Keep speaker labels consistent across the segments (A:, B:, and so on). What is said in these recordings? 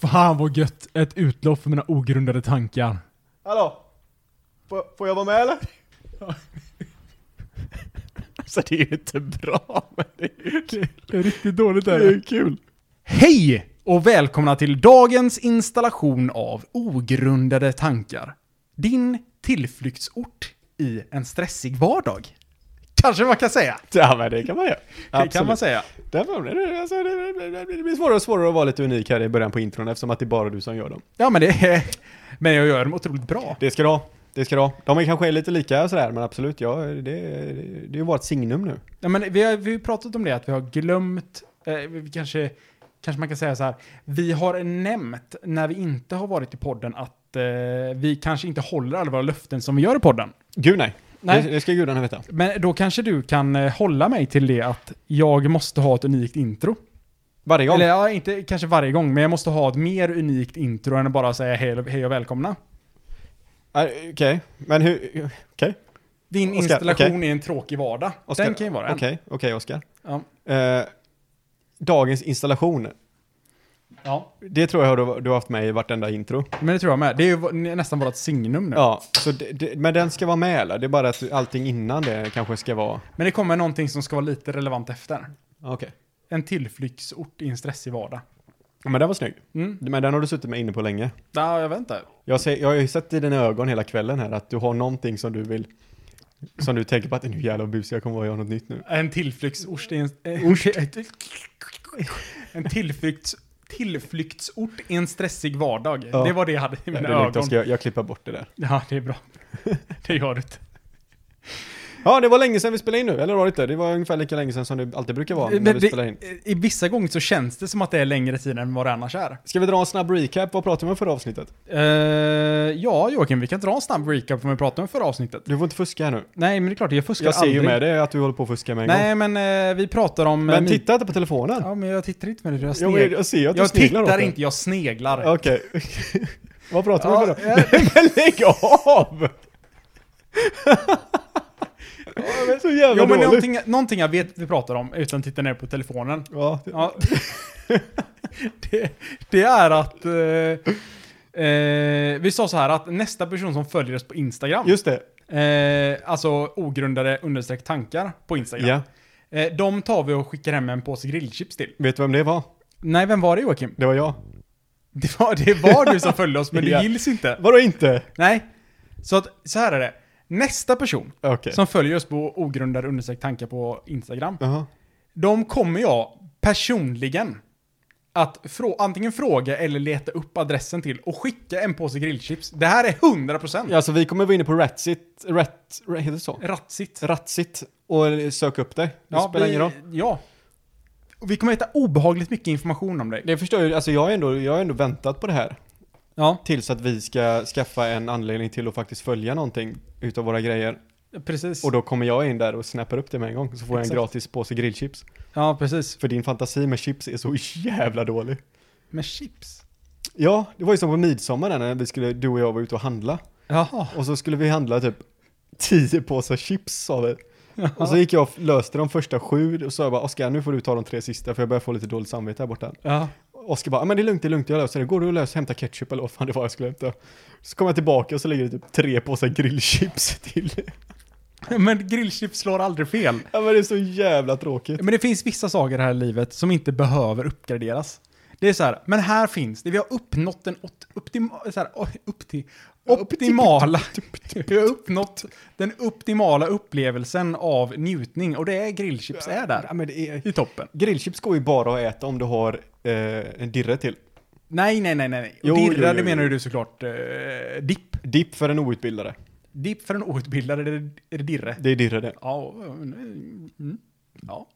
A: Fan vad gött! Ett utlopp för mina ogrundade tankar.
B: Hallå? Får, får jag vara med eller?
C: Så det är ju inte bra, men det är ju kul.
A: Det är riktigt dåligt
C: Det är ju kul.
A: Hej och välkomna till dagens installation av Ogrundade tankar. Din tillflyktsort i en stressig vardag. Kanske man kan säga.
B: Ja men det kan man göra.
A: Det kan man säga.
B: Därför, det, alltså, det, det, det, det blir svårare och svårare att vara lite unik här i början på intron eftersom att det är bara du som gör dem.
A: Ja, men det är... Men jag gör dem otroligt bra.
B: Det ska du ha. Det ska du ha. De är kanske är lite lika sådär, men absolut, ja, det, det, det är ju vårt signum nu.
A: Ja, men vi har vi har ju pratat om det, att vi har glömt... Eh, vi kanske, kanske man kan säga så här. Vi har nämnt, när vi inte har varit i podden, att eh, vi kanske inte håller alla våra löften som vi gör i podden.
B: Gud nej.
A: Nej.
B: Det, det ska gudarna veta.
A: Men då kanske du kan eh, hålla mig till det att jag måste ha ett unikt intro.
B: Varje gång.
A: Eller ja, inte kanske varje gång, men jag måste ha ett mer unikt intro än att bara säga hej, hej och välkomna.
B: Ah, Okej, men hur... Okej,
A: Din
B: Oskar,
A: installation
B: okej.
A: är en tråkig vardag.
B: Oskar,
A: Den kan ju vara en.
B: okej, okej Oskar.
A: Ja.
B: Eh, dagens installation,
A: ja,
B: det tror jag du, du har haft med i vartenda intro.
A: men det tror jag med. Det är ju v- nästan vårt signum nu.
B: Ja, så det, det, men den ska vara med eller? Det är bara att allting innan det kanske ska vara...
A: Men det kommer någonting som ska vara lite relevant efter.
B: Okej.
A: En tillflyktsort i en stressig vardag.
B: Ja, men den var snygg.
A: Mm.
B: Men den har du suttit med inne på länge.
A: Ja, jag vet inte.
B: Jag, ser, jag har ju sett i dina ögon hela kvällen här att du har någonting som du vill... Som du tänker på att nu jävlar vad busig jag kommer vara, jag har något nytt nu.
A: En tillflyktsort i en... En tillflykts, tillflyktsort i en stressig vardag.
B: Ja.
A: Det var det jag hade i mina
B: det är lugnt,
A: ögon.
B: jag, ska, jag klipper bort det där.
A: Ja, det är bra. Det gör du inte.
B: Ja, det var länge sedan vi spelade in nu, eller var det inte? Det var ungefär lika länge sedan som det alltid brukar vara när
A: Men
B: vi
A: det-
B: spelar in.
A: I vissa gånger så känns det som att det är längre tid än vad det annars är.
B: Ska vi dra en snabb recap? Vad pratade vi om förra avsnittet?
A: Eh, ja, Joakim, vi kan dra en snabb recap från vad vi pratade om förra avsnittet.
B: Du får inte fuska här nu.
A: Nej, men det är klart, jag fuskar
B: Jag ser
A: aldrig.
B: ju med dig att du håller på att fuska med en gång.
A: Nej, men eh, vi pratar om... eh,
B: Men
A: min-
B: titta inte på telefonen.
A: Ja, men jag tittar inte med det. Jag,
B: Jo,
A: sneg...
B: men jag ser ju att du
A: jag
B: sneglar åt
A: tittar
B: den.
A: inte, jag sneglar.
B: Okej. Vad pratar vi om
A: Ja,
B: då?
A: eh,
B: Men lägg av! Så jävla
A: jo, men
B: dåligt.
A: någonting, någonting jag vet vi pratar om utan att titta ner på telefonen.
B: Ja,
A: Ja. det, det är att... Eh, eh, vi sa så här att nästa person som följer oss på Instagram,
B: just det.
A: eh, alltså ogrundade understreck tankar på Instagram,
B: Ja.
A: eh, de tar vi och skickar hem en påse grillchips till.
B: Vet du vem det var?
A: Nej, vem var det Joakim?
B: Det var jag.
A: Det var, det var du som följde oss, men det
B: Ja.
A: gills inte.
B: Vadå inte?
A: Nej, så, att, så här är det. Nästa person
B: Okej.
A: som följer oss på ogrundade understreck tankar på Instagram,
B: Jaha.
A: De kommer jag personligen att frå antingen fråga eller leta upp adressen till och skicka en påse grillchips. Det här är 100%.
B: Ja, så vi kommer vara inne på Ratsit, Rat, Rat- heter det så?
A: Ratsigt.
B: Ratsit och söka upp dig. Det spelar ingen roll.
A: vi, ja. Och vi kommer hitta obehagligt mycket information om dig.
B: Det förstår jag, alltså jag har ändå, jag har ändå väntat på det här.
A: Ja,
B: Tills att vi ska skaffa en anledning till att faktiskt följa någonting utav våra grejer.
A: precis.
B: Och då kommer jag in där och snappar upp det med en gång. Så får jag en
A: Exakt.
B: gratis påse grillchips.
A: Ja, precis.
B: För din fantasi med chips är så jävla dålig.
A: Med chips.
B: Ja, det var ju som på midsommar där när vi skulle, du och jag var ute och handla.
A: Jaha.
B: Och så skulle vi handla typ tio påsar chips sa vi. Och så gick jag och löste de första sju och sa jag bara Oskar nu får du ta de tre sista för jag börjar få lite dåligt samvete här borta.
A: Ja.
B: Oskar bara, "Ja, men det är lugnt, det är lugnt, jag löser det. Går du och löser, hämta ketchup eller vad fan det var jag skulle hämta. Så kommer jag tillbaka och så ligger det typ tre påsar grillchips till.
A: Men grillchips slår aldrig fel.
B: Ja men det är så jävla tråkigt.
A: Men det finns vissa saker i det här livet som inte behöver uppgraderas. Det är så här, men här finns det, vi har uppnått den opt, optima, så här, oj, upp till, optimala, vi har uppnått den optimala upplevelsen av njutning och det är grillchips är
B: Ja,
A: där
B: men det är...
A: i toppen.
B: Grillchips går ju bara att äta om du har eh, en dirre till.
A: Nej, nej, nej, nej, nej.
B: Jo, jo,
A: Dirra,
B: jo,
A: det
B: jo.
A: menar ju du såklart eh, dipp.
B: Dipp för en outbildare.
A: Dipp för en outbildad, är det, är det dirre?
B: Det är dirre det.
A: Ja, mm, ja,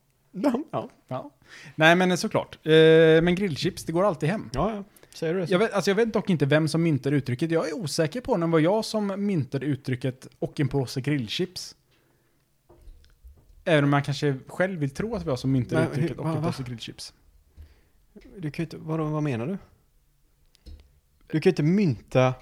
B: Ja,
A: ja. Nej, men såklart. Eh, men grillchips, det går alltid hem.
B: ja. Säger du det så.
A: Jag vet, alltså jag vet dock inte vem som myntade uttrycket. Jag är osäker på om det var jag som myntade uttrycket och en påse grillchips. Även om man kanske själv vill tro att det var jag som myntade
B: Men hur-
A: uttrycket och
B: va-
A: en
B: va?
A: påse grillchips.
B: Du kan ju inte, vadå, vad menar du? Du kan ju inte mynta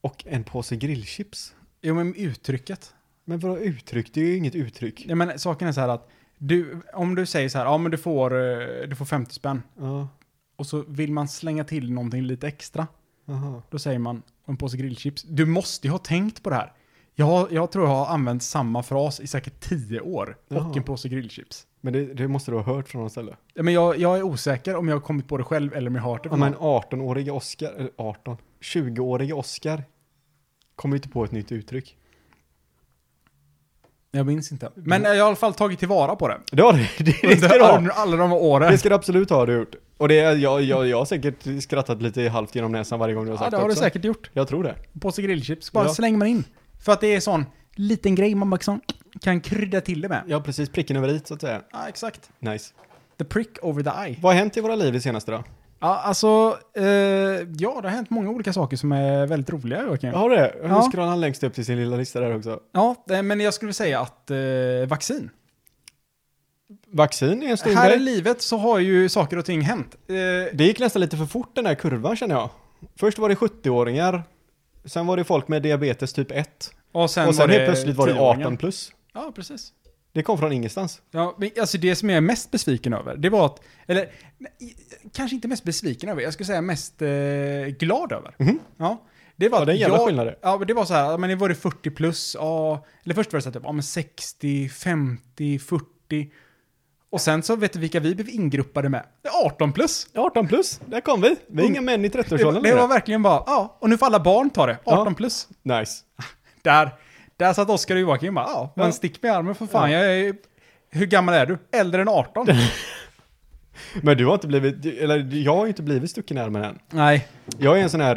B: och en påse grillchips.
A: Jo men uttrycket.
B: Men vadå uttryck? Det är ju inget uttryck.
A: Ja, men saken är så här att du, om du säger så här, ja men du får, eh, du får 50 spänn.
B: Ja.
A: och så vill man slänga till någonting lite extra.
B: Aha.
A: Då säger man, och en påse grillchips. Du måste ju ha tänkt på det här. Jag, jag tror jag har använt samma fras i säkert tio år.
B: Jaha.
A: Och en påse grillchips.
B: Men det, det måste du ha hört från någon ställe.
A: Ja, men jag, jag är osäker om jag har kommit på det själv eller om jag har hört det
B: Ja,
A: från
B: men
A: någon.
B: 18-åriga Oscar, eller 18, 20-åriga Oscar kommer inte på ett nytt uttryck.
A: Jag minns inte. Men jag har i alla fall tagit tillvara på det.
B: Det har du, det, det ska
A: Under
B: du ha.
A: alla, alla de här åren.
B: Det ska du absolut ha, har du gjort. Och det, är- jag, jag, jag har säkert skrattat lite halvt genom näsan varje gång du har sagt
A: ja, det har du
B: också.
A: säkert gjort.
B: Jag tror det.
A: Påse grillchips, bara
B: Ja.
A: slänger man in. För att det är sån liten grej man bara liksom kan krydda till det med.
B: Ja, precis. Pricken över i, så att säga.
A: Ja, exakt.
B: Nice.
A: The prick over the eye.
B: Vad har hänt i våra liv det senaste då?
A: Ja, alltså, eh, ja, det har hänt många olika saker som är väldigt roliga, Joakim.
B: Jag har det. Jag
A: Ja.
B: scrollar längst upp till sin lilla lista där också.
A: Ja, eh, men jag skulle säga att eh, vaccin.
B: Vaccin är en stor
A: Här i
B: grej.
A: livet så har ju saker och ting hänt. Eh,
B: Det gick nästan lite för fort den här kurvan känner jag. Först var det 70-åringar, sen var det folk med diabetes typ 1.
A: och sen,
B: och
A: var
B: sen helt
A: det
B: plötsligt var det 18
A: tioåringen.
B: plus.
A: Ja, precis.
B: Det kom från ingenstans.
A: Ja, men alltså det som jag är mest besviken över, det var att, eller nej, kanske inte mest besviken över, jag skulle säga mest eh, glad över.
B: Mhm.
A: Ja, det var
B: Ja, det är en
A: att
B: jävla
A: jag-
B: skillnad det.
A: Ja, men det var så här, ja, men det var det 40 plus, ja, eller först var det så här, typ, ja men 60, 50, 40. Och sen så vet du vilka vi blev ingruppade med? Det är 18 plus.
B: 18 plus, där kom vi. Vi är
A: Mm.
B: inga män i
A: Det var,
B: 30-årsåldern
A: det var
B: längre.
A: verkligen bara, ja, och nu får alla barn ta det, 18
B: Ja.
A: plus.
B: Nice.
A: Där, där satt Oskar och Joakim bara, ja, men
B: Ja.
A: stick med armen för fan, jag är, hur gammal är du? Äldre än 18?
B: Men du har inte blivit, du- eller jag har ju inte blivit stucken i armen än.
A: Nej.
B: Jag är en sån här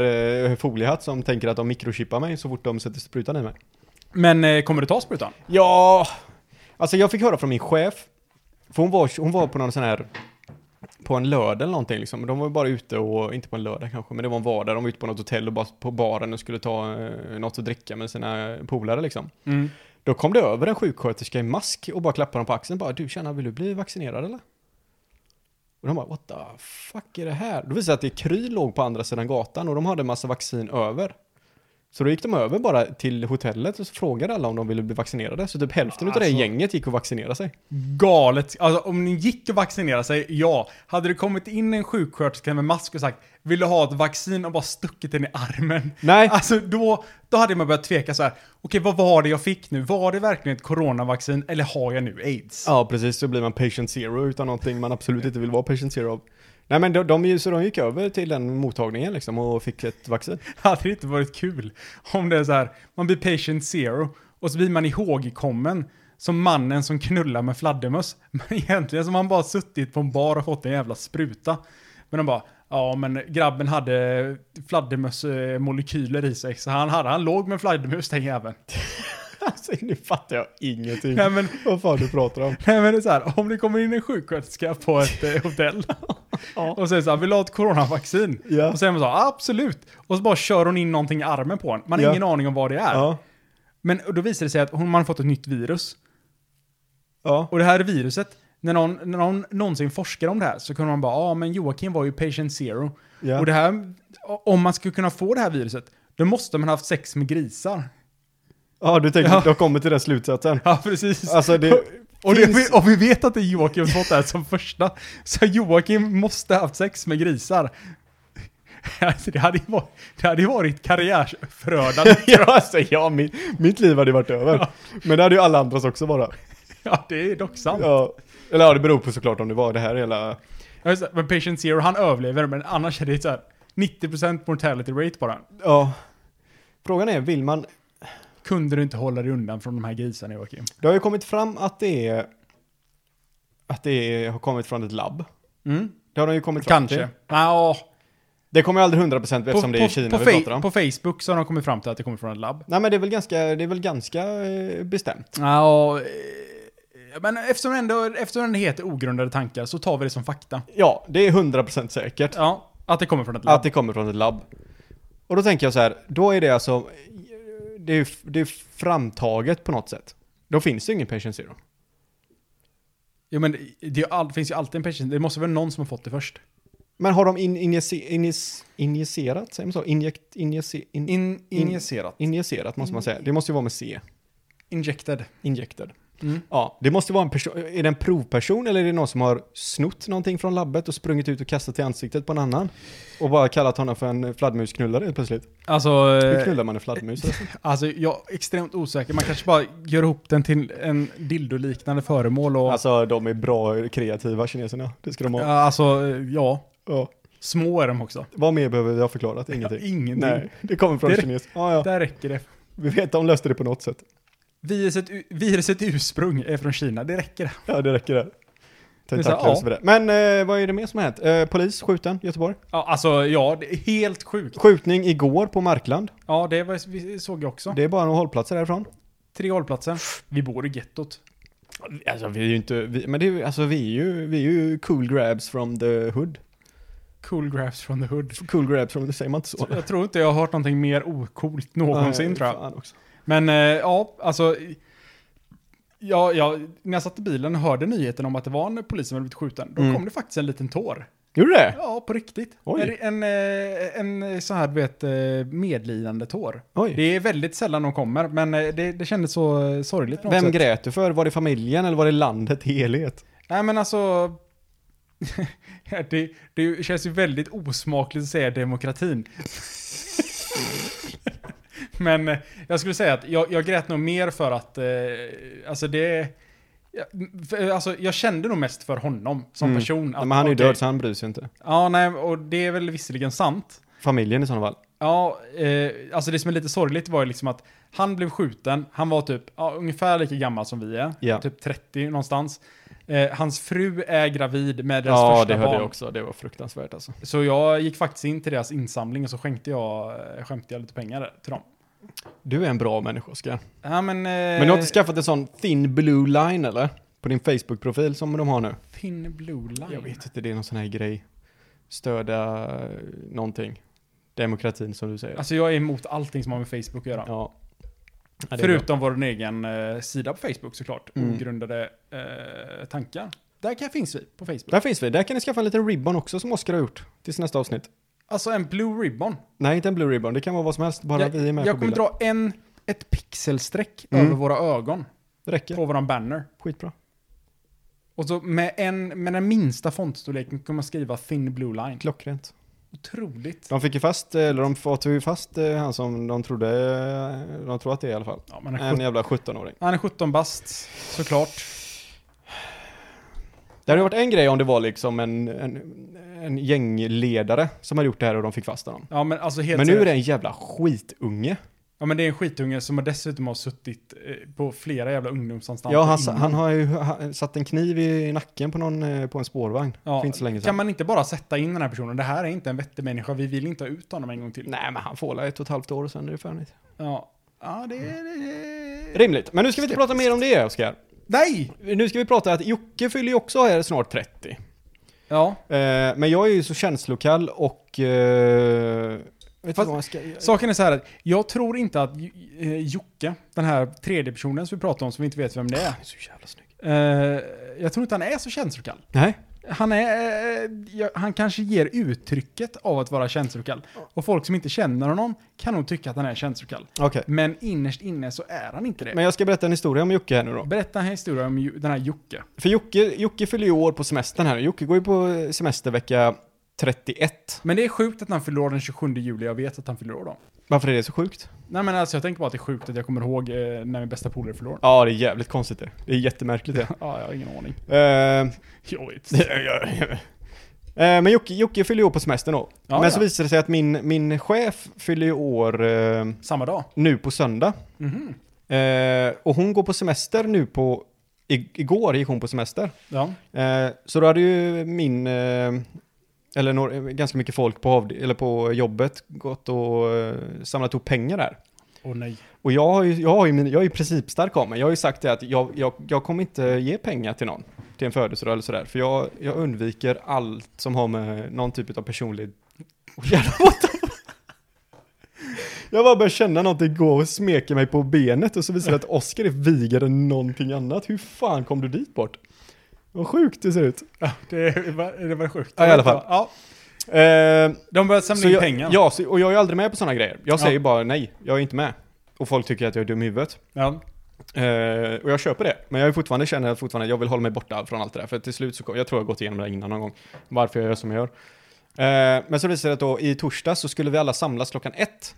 B: eh, foliehatt som tänker att de mikrochippar mig så fort de sätter sprutan i mig.
A: Men eh, kommer du ta sprutan?
B: Ja, alltså jag fick höra från min chef, för hon var, hon var på någon sån här, på en lördag eller någonting liksom. De var ju bara ute och, inte på en lördag kanske, men det var en vardag. De var ute på något hotell och bara på baren och skulle ta eh, något att dricka med sina polare liksom. Då kom det över en sjuksköterska i mask och bara klappade dem på axeln bara, du tjena, vill du bli vaccinerad eller? Och de bara, what the fuck är det här? Då visade det sig att det Kry låg på andra sidan gatan och de hade en massa vaccin över. Så då gick de över bara till hotellet och så frågade alla om de ville bli vaccinerade. Så typ hälften utav
A: Alltså.
B: det gänget gick och vaccinerade sig.
A: Galet. Alltså om ni gick och vaccinerade sig, ja. Hade det kommit in en sjuksköterska med mask och sagt vill du ha ett vaccin och bara stuckit den i armen?
B: Nej.
A: Alltså då, då hade man börjat tveka så här. Okej, vad var det jag fick nu? Var det verkligen ett coronavaccin eller har jag nu aids?
B: Ja, precis. Så blir man patient zero utan någonting man absolut inte vill vara patient zero av. Nej men de, de, så de gick över till den mottagningen liksom och fick ett vaccin.
A: Hade det inte varit kul om det är så här, man blir patient zero och så blir man ihågkommen som mannen som knullar med fladdermöss. Men egentligen så har man bara suttit på en bar och fått en jävla spruta. Men de bara, ja men grabben hade fladdermössmolekyler i sig så han, hade, han låg med fladdermus den jäveln.
B: Alltså nu fattar jag ingenting.
A: Nej men,
B: Vad fan du pratar om.
A: nej, men det är så här, om det kommer in en sjuksköterska på ett eh, hotell
B: Ja.
A: och säger så här, vill du ha ett coronavaccin?
B: Ja.
A: Och så säger man så här, absolut. Och så bara kör hon in någonting i armen på en. Man har
B: Ja.
A: ingen aning om vad det är.
B: Ja.
A: Men då visar det sig att hon, man har fått ett nytt virus.
B: Ja.
A: Och det här viruset, när någon, när någon någonsin forskar om det här så kunde man bara, ja ah, men Joakim var ju patient zero.
B: Ja.
A: Och det här, om man skulle kunna få det här viruset, då måste man ha haft sex med grisar.
B: Ja, du tänker
A: Ja.
B: att jag kommer till den slutsatsen.
A: Ja, precis.
B: Alltså det...
A: och, det,
B: finns-
A: vi- och vi vet att det är Joakim som fått det här som första. Så Joakim måste ha haft sex med grisar. Alltså det hade ju varit, det hade ju varit karriärsförödande.
B: ja, alltså, ja min, mitt liv hade ju varit över. Men det hade ju alla andras också bara.
A: Ja, det är dock sant.
B: Ja. Eller ja, det beror på såklart om det var det här hela...
A: Ja, just det. Men Patient Zero, han överlever, men annars är det så här 90% mortality rate bara.
B: Ja. Frågan är, vill man...
A: Kunde du inte hålla dig undan från de här grisarna Joakim?
B: Det har ju kommit fram att det är... Att det är, har kommit från ett labb.
A: Mm,
B: Det har de ju kommit fram
A: kanske.
B: till.
A: Nja,
B: Det kommer ju aldrig 100% eftersom
A: på,
B: det är i
A: på,
B: Kina
A: på,
B: vi
A: fej-
B: pratar om.
A: på Facebook så har de kommit fram till att det kommer från ett labb.
B: Nej men det är väl ganska, det är väl ganska eh, bestämt.
A: Nja, eh, men eftersom det, ändå, eftersom det ändå heter ogrundade tankar så tar vi det som fakta.
B: Ja, det är 100% säkert.
A: Ja, att det kommer från ett
B: Att
A: labb.
B: det kommer från ett labb. Och då tänker jag så här, då är det alltså, det är, ju- det är framtaget på något sätt. Då finns det ju ingen patient zero.
A: Jo men det, är ju all, finns ju alltid en patient, det måste väl någon som har fått det först?
B: Men har de in, injece, injes, injicerat, säger man så? Injekt, injece, in,
A: In,
B: injicerat måste man säga. Det måste ju vara med C.
A: Injected.
B: Injected.
A: Mm.
B: Ja, det måste vara en person, är det en provperson eller är det någon som har snott någonting från labbet och sprungit ut och kastat i ansiktet på en annan? Och bara kallat honom för en fladdermusknullare helt plötsligt.
A: Alltså,
B: Hur
A: eh,
B: knullar man en fladdermus? förresten?
A: alltså, jag är extremt osäker. Man kanske bara gör ihop den till en dildoliknande föremål och... Alltså,
B: Alltså de är bra kreativa kineserna, det ska de ha.
A: ja, alltså, ja.
B: Ja.
A: Små är de också.
B: Vad mer behöver vi ha förklarat? Ingenting.
A: Ingenting.
B: Nej, det kommer från
A: Det-
B: kines. Ja, ja.
A: Där räcker det.
B: Vi vet att de löste det på något sätt.
A: Viruset, viruset ursprung är från Kina, det räcker.
B: Ja, det räcker där.
A: är så här,
B: Tentakler och så vidare. Men eh, vad är det mer som har hänt? Eh, polis skjuten i Göteborg.
A: Ja, alltså ja, det är helt sjukt.
B: Skjutning igår på Markland.
A: Ja, det var, vi såg jag också.
B: Det är bara några hållplatser därifrån.
A: Tre hållplatser. Vi bor i gettot.
B: Alltså vi är ju inte, vi, men det är, ju- alltså, vi, är ju, vi är ju cool grabs from the hood.
A: Cool graphs from the hood.
B: Cool grabs from the, säger man inte så?
A: Jag tror inte jag har hört någonting mer ocoolt någonsin
B: Nej,
A: tror jag.
B: fan också.
A: Men eh, ja, alltså. Ja, ja, när jag satt i bilen och hörde nyheten om att det var en polis som hade blivit skjuten, då
B: Mm.
A: kom det faktiskt en liten tår.
B: Gjorde det?
A: Ja, på riktigt.
B: Oj.
A: En, en, eh, en så här, du vet, eh, medlidande tår.
B: Oj.
A: Det är väldigt sällan de kommer, men eh, det, det kändes så eh, sorgligt på något
B: Vem
A: sätt.
B: grät du för? Var det familjen eller var det landet i helhet?
A: Nej men alltså... det, det känns ju väldigt osmakligt att säga demokratin. men eh, jag skulle säga att jag, jag grät nog mer för att... Eh, alltså det... ja, för, Alltså, jag kände nog mest för honom som
B: Mm.
A: person.
B: Nej, men han är ju
A: okej.
B: död så han bryr sig inte.
A: Ja, nej, och det är väl visserligen sant.
B: Familjen i sådana fall.
A: Ja, eh, alltså det som är lite sorgligt var ju liksom att han blev skjuten, han var typ ja, ungefär lika gammal som vi är,
B: Ja.
A: typ 30 någonstans. Eh, hans fru är gravid med deras
B: Ja,
A: första
B: det hörde
A: barn.
B: jag också. Det var fruktansvärt alltså.
A: Så jag gick faktiskt in till deras insamling och så skänkte jag, eh, skänkte jag lite pengar till dem.
B: Du är en bra människa, Oskar.
A: Ja, men, eh,
B: Men du har inte skaffat en sån thin blue line eller? På din Facebook-profil som de har nu?
A: Thin Blue Line.
B: Jag vet inte, det är någon sån här grej. Stödja eh, någonting. Demokratin som du säger.
A: Alltså jag är emot allting som har med Facebook att göra.
B: ja. Ja, det är bra.
A: Förutom vår egen eh, sida på Facebook såklart,
B: Mm.
A: ogrundade eh, tankar. Där kan- finns vi på Facebook.
B: Där finns vi. Där kan ni skaffa en liten ribbon också som Oskar har gjort. Tills nästa avsnitt.
A: Alltså en blue ribbon.
B: Nej, inte en blue ribbon. Det kan vara vad som helst. Bara vi är med
A: jag
B: på
A: kommer
B: bilden.
A: dra en, ett pixelstreck
B: Mm.
A: över våra ögon
B: Det räcker.
A: på våran banner.
B: Skitbra.
A: Och så med, en, med den minsta fontstorleken kommer man skriva thin blue line.
B: Klockrent.
A: Otroligt.
B: De fick ju fast, eh, eller de fått ju fast eh, han som de trodde, eh, de tror att det är i alla fall.
A: Ja, men han, är
B: En
A: 17,
B: jävla 17-åring.
A: han är 17 bast, såklart.
B: Det hade varit en grej om det var liksom en, en, en gängledare som hade gjort det här och de fick fast honom.
A: Ja, men alltså helt
B: Men nu är
A: seriöst.
B: det en jävla skitunge.
A: Ja, men det är en skitunge som har dessutom har suttit eh, på flera jävla ungdomsanstalter.
B: Ja, han, sa-
A: innan.
B: han har ju ha- satt en kniv i nacken på, någon, eh, på en spårvagn.
A: Ja,
B: för inte så länge sedan.
A: Kan man inte bara sätta in den här personen? Det här är inte en vettig människa, vi vill inte ha ut honom en gång till.
B: Nej, men han får la ett och ett halvt år och sen är det färdigt.
A: Ja, ja det är... det-
B: Rimligt. Men nu ska vi inte prata mer om det, Oskar.
A: Nej!
B: Nu ska vi prata att Jocke fyller ju också här snart 30.
A: Ja.
B: Eh, men jag är ju så känslokall och... Eh, vet du
A: Fast-
B: vad man ska...
A: Saken är så här att jag tror inte att J- eh, Jocke, den här tredje personen som vi pratar om som vi inte vet vem det är.
B: är så jävla snygg.
A: Eh, jag tror inte han är så känslokall.
B: Nej.
A: Han, är, eh, ja, han kanske ger uttrycket av att vara känslokall. Och folk som inte känner honom kan nog tycka att han är känslokall.
B: Okej.
A: Men innerst inne så är han inte det.
B: Men jag ska berätta en historia om Jocke här nu då.
A: Berätta en historia om Ju- den här Jocke.
B: För Jocke, Jocke fyller ju år på semestern här. Jocke går ju på semestervecka 31.
A: Men det är sjukt att han fyller år den 27 juli, jag vet att han fyller år då.
B: Varför är det så sjukt?
A: Nej men alltså jag tänker bara att det är sjukt att jag kommer ihåg eh, när min bästa polare fyller år.
B: Ja, det är jävligt konstigt det. Det är jättemärkligt det.
A: Ja, jag har ingen aning.
B: Eh,
A: Jag vet.
B: Eh, Men Jocke, Jocke fyller ju år på semestern då.
A: Ja,
B: Men
A: ja.
B: så visar det sig att min, min chef fyller ju år eh,
A: Samma dag.
B: nu på söndag.
A: Mhm.
B: Eh, och hon går på semester nu på... I, igår gick hon på semester.
A: Ja.
B: Eh, så då hade ju min... Eh, eller några, ganska mycket folk på, avd- eller på jobbet gått och eh, samlat ihop pengar där.
A: Åh nej.
B: Och jag har ju, jag har ju, min, jag är ju principstark av mig. Jag har ju sagt det att jag, jag, jag kommer inte ge pengar till någon. Till en födelsedag eller sådär. För jag, jag undviker allt som har med någon typ av personlig... Åh, jävlar, what the- Jag bara börjar känna någonting gå och smeker mig på benet och så visar det att Oskar är vigare än någonting annat. Hur fan kom du dit bort? Vad sjukt det ser ut.
A: Det var, det var sjukt.
B: Ja, i alla fall.
A: Ja,
B: Eh,
A: de började
B: så
A: samla in
B: jag,
A: pengar.
B: Ja, så, och jag är aldrig med på sådana grejer. Jag
A: Ja.
B: säger bara nej, jag är inte med. Och folk tycker att jag är dum i huvudet.
A: Ja.
B: Eh, och jag köper det, men jag är fortfarande känner fortfarande att jag vill hålla mig borta från allt det där. För till slut så, kom- jag tror jag har gått igenom det här innan någon gång, varför jag gör som jag gör. Eh, men så visade det sig att då i torsdag så skulle vi alla samlas klockan ett.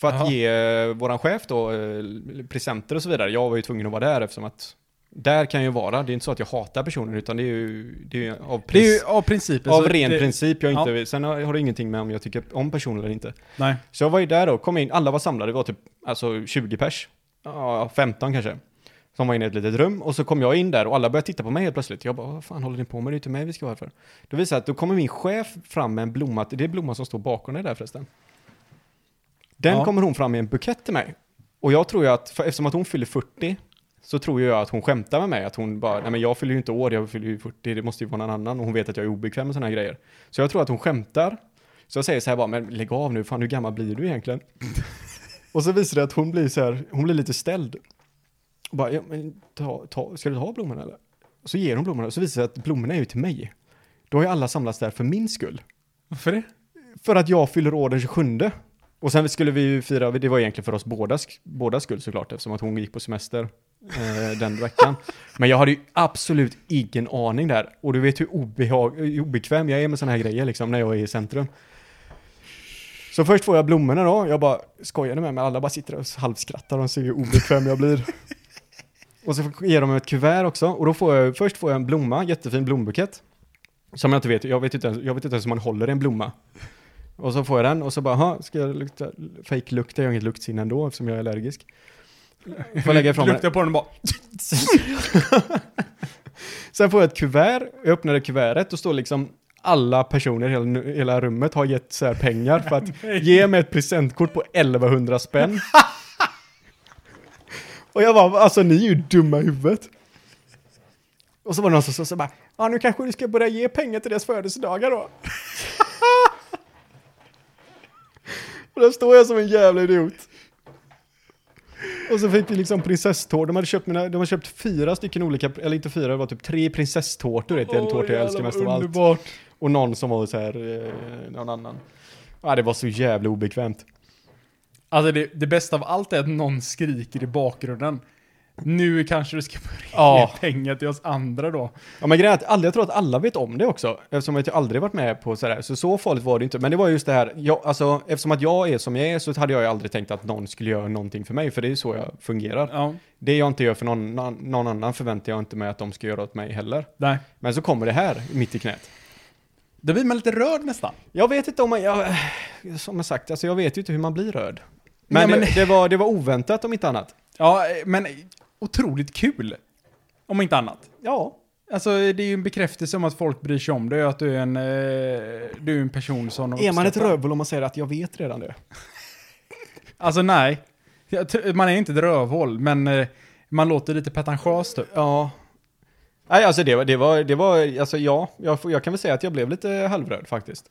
B: För att
A: Jaha.
B: ge eh, våran chef då eh, presenter och så vidare. Jag var ju tvungen att vara där eftersom att där kan jag ju vara. Det är inte så att jag hatar personen utan det är ju, det är ju av,
A: Det är
B: pris,
A: ju av principen.
B: av
A: så
B: ren
A: det,
B: princip. Jag
A: ja.
B: inte, Sen har har det ingenting med om jag tycker om personen eller inte.
A: Nej.
B: Så jag var ju där då, kom in, alla var samlade, vi var typ alltså 20 pers. Ja, 15 kanske. Som var inne i ett litet rum och så kom jag in där och alla började titta på mig helt plötsligt. Jag bara, vad fan håller ni på med? Det är inte mig vi ska vara här för. Då visar det sig att då kommer min chef fram med en blomma, det är blomman som står bakom dig där förresten. Den
A: Ja.
B: kommer hon fram med en bukett till mig. Och jag tror ju att, för, eftersom att hon fyller 40, så tror ju jag att hon skämtar med mig. Att hon bara, nej men jag fyller ju inte år, jag fyller ju 40, det måste ju vara någon annan. Och hon vet att jag är obekväm med sådana här grejer. Så jag tror att hon skämtar. Så jag säger så här bara, men lägg av nu, fan hur gammal blir du egentligen? och så visar det att hon blir så här, hon blir lite ställd. Och bara, ja, men ta, ta, ska du ta blommorna eller? Och så ger hon blommorna, och så visar det sig att blommorna är ju till mig. Då har ju alla samlats där för min skull.
A: Varför det?
B: För att jag fyller år den 27. Och sen skulle vi ju fira, det var egentligen för oss båda, sk- båda skull såklart, eftersom att hon gick på semester eh, den veckan. Men jag hade ju absolut ingen aning där. Och du vet hur obehag, hur obekväm jag är med sådana här grejer liksom, när jag är i centrum. Så först får jag blommorna då, jag bara skojar ni med mig? Alla bara sitter och halvskrattar, de ser hur obekväm jag blir. Och så ger de mig ett kuvert också, och då får jag, först får jag en blomma, jättefin blombukett. Som jag inte vet, jag vet inte ens, jag vet inte ens hur man håller en blomma. Och så får jag den och så bara, "Aha, ska jag lukta, fake lukta, jag har inget luktsinne ändå eftersom jag är allergisk. Får lägga ifrån mig.
A: Luktar på den och bara...
B: Sen får jag ett kuvert, jag öppnar det kuvertet och står liksom alla personer i hela, hela rummet har gett så här pengar för att ge mig ett presentkort på 1100 spänn. och jag var alltså ni är ju dumma i huvudet. Och så var det någon som sa så bara, ja nu kanske du ska börja ge pengar till deras födelsedagar då. och där står jag som en jävla idiot. Och så fick vi liksom prinsesstårtor. De hade köpt, mina, de hade köpt fyra stycken olika, eller inte fyra, det var typ tre prinsesstårtor. Det är en tårta jag älskar mest av allt.
A: Underbart.
B: Och någon som var så här, eh, någon annan. Ja, det var så jävla obekvämt.
A: Alltså det, det bästa av allt är att någon skriker i bakgrunden. Nu kanske du ska börja
B: Ja.
A: ge pengar till oss andra då.
B: Ja, men grejen är att alla, jag tror att alla vet om det också, eftersom att jag aldrig varit med på sådär, så så farligt var det inte. Men det var just det här, jag, alltså, eftersom att jag är som jag är så hade jag ju aldrig tänkt att någon skulle göra någonting för mig, för det är ju så jag fungerar.
A: Ja,
B: Det jag inte gör för någon, någon- någon annan förväntar jag inte mig att de ska göra åt mig heller.
A: nej.
B: Men så kommer det här, mitt i knät.
A: Då blir man lite rörd nästan.
B: Jag vet inte om man, jag, som jag sagt, alltså jag vet ju inte hur man blir röd.
A: Nej,
B: Men,
A: men-
B: Det, det, var, det var oväntat om inte annat.
A: Ja, men otroligt kul. Om inte annat.
B: Ja.
A: Alltså det är ju en bekräftelse om att folk bryr sig om dig och att du är en, eh, du är en person som de
B: Är man ett
A: uppskattar.
B: rövhål om man säger att jag vet redan det?
A: Alltså nej. Jag t- Man är inte ett rövhål, men eh, man låter lite pretentiös typ.
B: Ja. Nej, alltså det var, det var, det var alltså ja, jag, får- jag kan väl säga att jag blev lite halvröd faktiskt.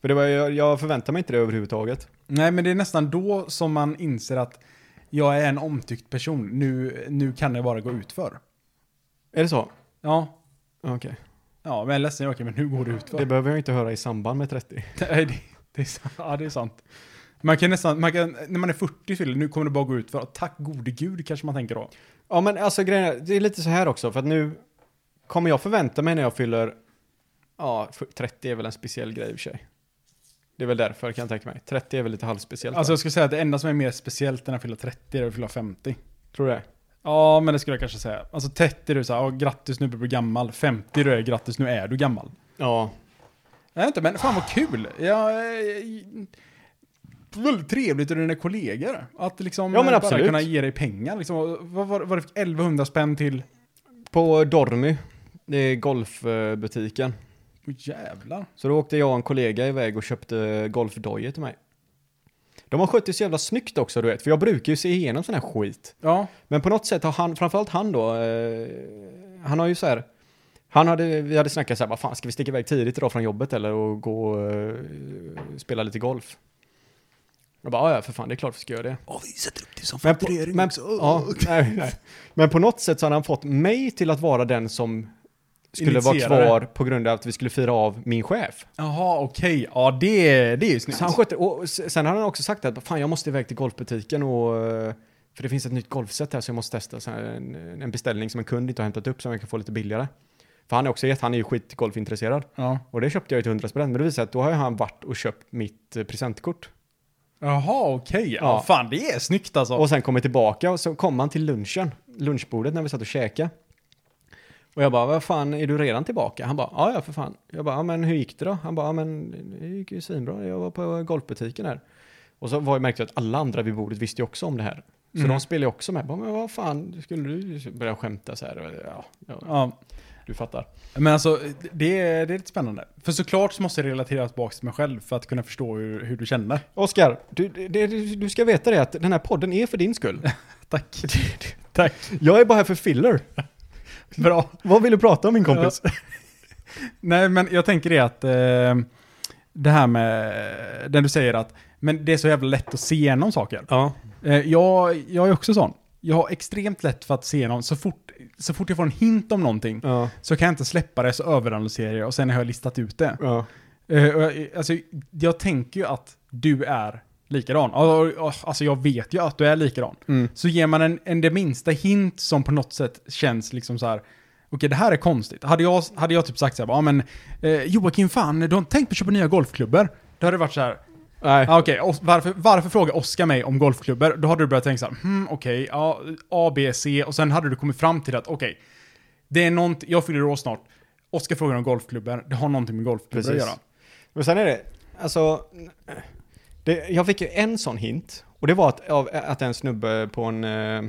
B: För det var, jag, jag förväntade mig inte det överhuvudtaget.
A: Nej, men det är nästan då som man inser att jag är en omtyckt person. Nu, nu kan det bara gå utför.
B: Är det så?
A: Ja,
B: Okej.
A: ja men jag är ledsen Joakim, men nu går det utför.
B: Det behöver jag inte höra i samband med 30.
A: Nej, det, det, är, sant. ja, det är sant. Man kan nästan, man kan, när man är 40 fyller, nu kommer det bara gå ut för tack gode gud kanske man tänker då.
B: Ja, men alltså grejen är, det är lite så här också, för att nu kommer jag förvänta mig när jag fyller, ja, f- 30 är väl en speciell grej i och för sig. Det är väl därför kan jag tänka mig. 30 är väl lite halvspeciellt.
A: Alltså
B: va?
A: jag skulle säga att det enda som är mer speciellt när jag fyller 30 är att fylla 50.
B: tror du det?
A: Ja, men det skulle jag kanske säga. Alltså 30 är du såhär, ja, grattis nu blir du gammal. 50 är du är grattis nu är du gammal.
B: Ja.
A: Nej inte, men fan vad kul. Ja, eh, väldigt trevligt ur dina kollegor. Att liksom
B: Ja, men
A: eh, bara
B: absolut.
A: kunna ge dig pengar. Liksom, Och vad var, var det för 1100 spänn till?
B: På Dormy, det är golfbutiken.
A: Åh jävlar.
B: Så då åkte jag och en kollega iväg och köpte golfdojor till mig. De har skött det så jävla snyggt också, du vet, för jag brukar ju se igenom sån här skit.
A: Ja,
B: Men på något sätt har han, framförallt han då, eh, han har ju så här, han hade, vi hade snackat så här, vad fan, ska vi sticka iväg tidigt idag från jobbet eller och gå och eh, spela lite golf? Jag bara, "Ja, ja, för fan, det är klart vi ska göra det.
C: vi sätter upp det som
B: Men på, men, ja, nej, nej. men på något sätt så hade han fått mig till att vara den som skulle vara
A: Initierade.
B: kvar på grund av att vi skulle fira av min chef.
A: jaha okej. Ja det, det är ju snyggt.
B: Så han skötte, och s- sen hade han också sagt att fan jag måste iväg till golfbutiken och eh, För det finns ett nytt golfset här så jag måste testa. Så här, en, en beställning som en kund inte har hämtat upp som jag kan få lite billigare. För han är också han är ju skitgolfintresserad.
A: Ja.
B: Och det köpte jag ju till 100 spänn. Men det visar sig att då har ju han varit och köpt mitt eh, presentkort.
A: Jaha, okej. Ja.
B: Ja.
A: Fan, det är snyggt alltså.
B: Och sen kommer tillbaka och så kom han till lunchen, lunchbordet när vi satt och käkade. Och jag bara, vad fan, är du redan tillbaka? Han bara, ja ja för fan. Jag bara, ja men hur gick det då? Han bara, ja men det gick ju svinbra, jag var på golfbutiken här. Och så var jag märkt att alla andra vid bordet visste ju också om det här. Så
A: Mm.
B: de spelade ju också med. Jag Bara, men vad fan, skulle du börja skämta så här? Ja, ja,
A: ja.
B: du fattar.
A: Men alltså, det är, det är lite spännande. För såklart så måste jag relatera tillbaka till mig själv för att kunna förstå hur, hur du känner.
B: Oskar, du, det- du, du ska veta det att den här podden är för din skull.
A: Tack. Tack.
B: Jag är bara här för filler.
A: Bra.
B: Vad vill du prata om min kompis?
A: Nej, men jag tänker det att eh, det här med, den du säger att, men det är så jävla lätt att se igenom saker.
B: Ja.
A: Eh, jag, jag är också sån. Jag har extremt lätt för att se igenom, så fort, så fort jag får en hint om någonting
B: Ja.
A: så kan jag inte släppa det, så överanalyserar jag och sen har jag listat ut det.
B: ja.
A: Eh, och jag, alltså, jag tänker ju att du är likadan. Alltså alltså, jag vet ju att du är likadan.
B: Mm.
A: Så ger man en, en det minsta hint som på något sätt känns liksom så här. Okej, det här är konstigt. Hade jag, hade jag typ sagt så här, ja men eh, Joakim, fan, du har inte tänkt på att köpa nya golfklubbor? Då hade det varit så här,
B: Nej.
A: ah, okej, os- varför, varför frågar Oskar mig om golfklubbor? Då hade du börjat tänka så här, hmm, okej, ja, A, B, C och sen hade du kommit fram till att okej, det är någonting, jag fyller år snart, Oskar frågar om golfklubbor, det har någonting med golfklubbor att
B: Precis.
A: göra.
B: Men sen är det, alltså, det, jag fick ju en sån hint. Och det var att, av, att en snubbe på en, eh,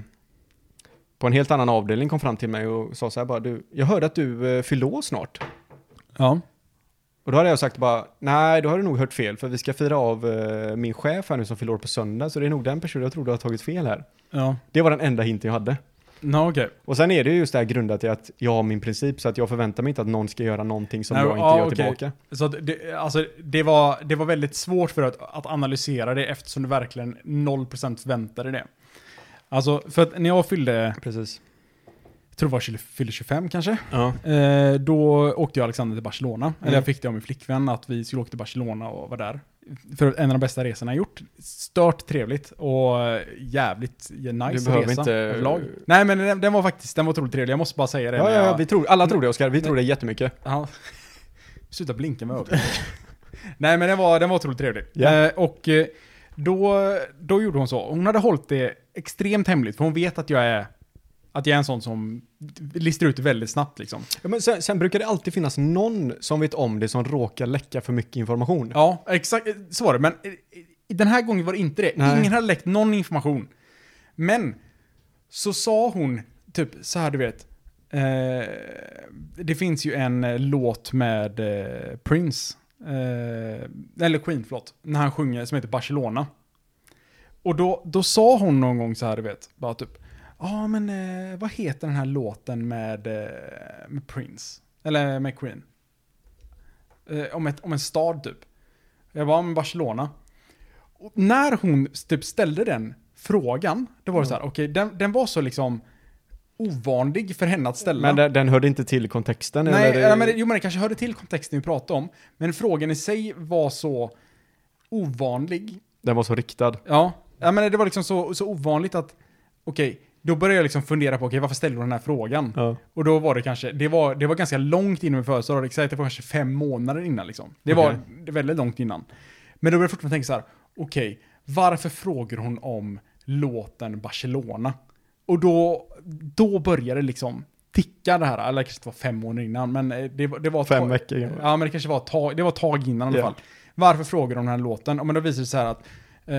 B: på en helt annan avdelning kom fram till mig och sa så här bara, du, jag hörde att du eh, fyllde år snart.
A: Ja.
B: Och då hade jag sagt bara, nej, då har du nog hört fel, för vi ska fira av eh, min chef här nu som fyller år på söndag, så det är nog den personen jag tror du har tagit fel här.
A: Ja,
B: Det var den enda hinten jag hade.
A: no, okej.
B: Och sen är det ju just det här grundat i att jag har min princip, så att jag förväntar mig inte att någon ska göra någonting som
A: Nej,
B: jag inte
A: ja,
B: gör
A: okej.
B: tillbaka.
A: Så att det, alltså, det, var, det var väldigt svårt för att, att analysera det eftersom du verkligen 0% förväntade det. Alltså, för att när jag fyllde,
B: Precis.
A: jag tror det var tjugo- fyllde 25 kanske,
B: Ja.
A: eh, då åkte jag och Alexander till Barcelona. Eller
B: Mm.
A: jag fick det av min flickvän att vi skulle åka till Barcelona och vara där. För en av de bästa resorna jag gjort. Stört trevligt och eh, jävligt nice
B: Du
A: resa.
B: behöver inte-
A: överlag. Nej men den, den var faktiskt, den var otroligt trevlig. Jag måste bara säga det.
B: Ja,
A: när
B: ja, ja,
A: jag-
B: vi tror, alla tror det Oskar, vi tror det jättemycket.
A: Ja. Sluta blinka med ögonen. Nej men den var, den var otroligt trevlig.
B: Ja.
A: Eh, och eh, då, då gjorde hon så. Hon hade hållit det extremt hemligt för hon vet att jag är, att jag är en sån som listar ut det väldigt snabbt liksom.
B: Ja, men sen, sen brukar det alltid finnas någon som vet om det som råkar läcka för mycket information.
A: Ja, exakt eh, så var det. Men eh, i- den här gången var det inte det.
B: Nej.
A: Ingen hade läckt någon information. Men så sa hon typ så här, du vet. Eh, det finns ju en eh, låt med eh, Prince. Eh, eller Queen, förlåt. När han sjunger som heter Barcelona. Och då, då sa hon någon gång så här, du vet. Bara typ. Ja, men eh, vad heter den här låten med, eh, med Prince? Eller med Queen? eh, om, ett, om en stad typ. Jag var med Barcelona. Och när hon typ ställde den frågan, då
B: Mm.
A: var det så här, okej, den, den var så liksom ovanlig för henne att ställa.
B: Men den, den hörde inte till kontexten?
A: Nej,
B: eller?
A: ja, men, det- jo, men det kanske hörde till kontexten vi pratade om. Men frågan i sig var så ovanlig.
B: Den var så riktad.
A: Ja, ja men det var liksom så, så ovanligt att, okej, då började jag liksom fundera på, okej, varför ställde hon den här frågan?
B: Ja.
A: Och då var det kanske, det var, det var ganska långt innan min födelsedag, exakt, det var kanske fem månader innan liksom. Det var
B: Okej.
A: det var väldigt långt innan. Men då började jag fortfarande tänka så här, okej, varför frågar hon om låten Barcelona? Och då, då började det liksom ticka det här, eller kanske det var fem månader innan, men eh, det, var- det var... ett
B: Fem
A: tag-
B: veckor gammal.
A: Ja, men det kanske var ett tag, det var ett tag innan i alla
B: Ja.
A: fall. Varför frågar de den här låten? Ja, men då visar det sig här att eh,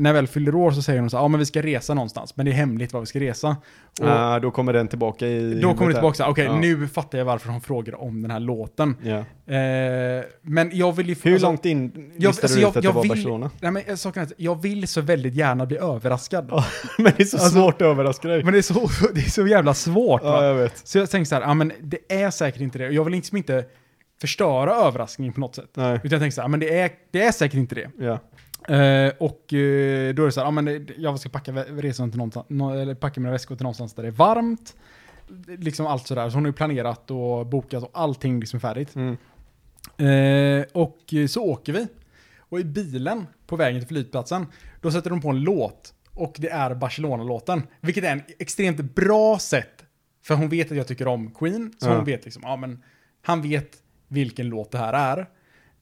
A: när jag väl fyller år så säger de så här, ja men vi ska resa någonstans, men det är hemligt var vi ska resa. Och
B: Ah, då kommer den tillbaka i...
A: då
B: huvudet
A: kommer det
B: här.
A: tillbaka, så här, okej
B: Ja.
A: nu fattar jag varför hon frågar om den här låten.
B: Ja.
A: Eh, men jag vill ju...
B: Hur
A: alltså-
B: långt in
A: jag,
B: listade
A: alltså,
B: du
A: jag,
B: ut att
A: jag
B: det var
A: vill,
B: Barcelona?
A: Nej, men jag, saken är att jag vill så väldigt gärna bli överraskad.
B: Ja, men det är så
A: Alltså-
B: svårt att överraska dig.
A: Men det är, så, det är så jävla svårt.
B: ja,
A: Va?
B: jag vet.
A: Så jag tänkte så här, ja, men det är säkert inte det. Och Jag vill liksom inte förstöra överraskningen på något sätt.
B: Nej.
A: Utan jag tänkte så här, ja, men det är, det är säkert inte det.
B: Ja.
A: Eh, och eh, då är det så här, ja, men det- jag ska packa vä- resan till någonstans, nå- eller packa mina väskor till någonstans där det är varmt. Liksom allt sådär. Så hon har ju planerat och bokat och allting liksom är färdigt.
B: Mm.
A: Eh, och eh, så åker vi. Och i bilen på vägen till flygplatsen, då sätter de på en låt. och det är Barcelona-låten. Vilket är en extremt bra sätt, för hon vet att jag tycker om Queen, så
B: Ja.
A: hon vet liksom, ja men han vet vilken låt det här är.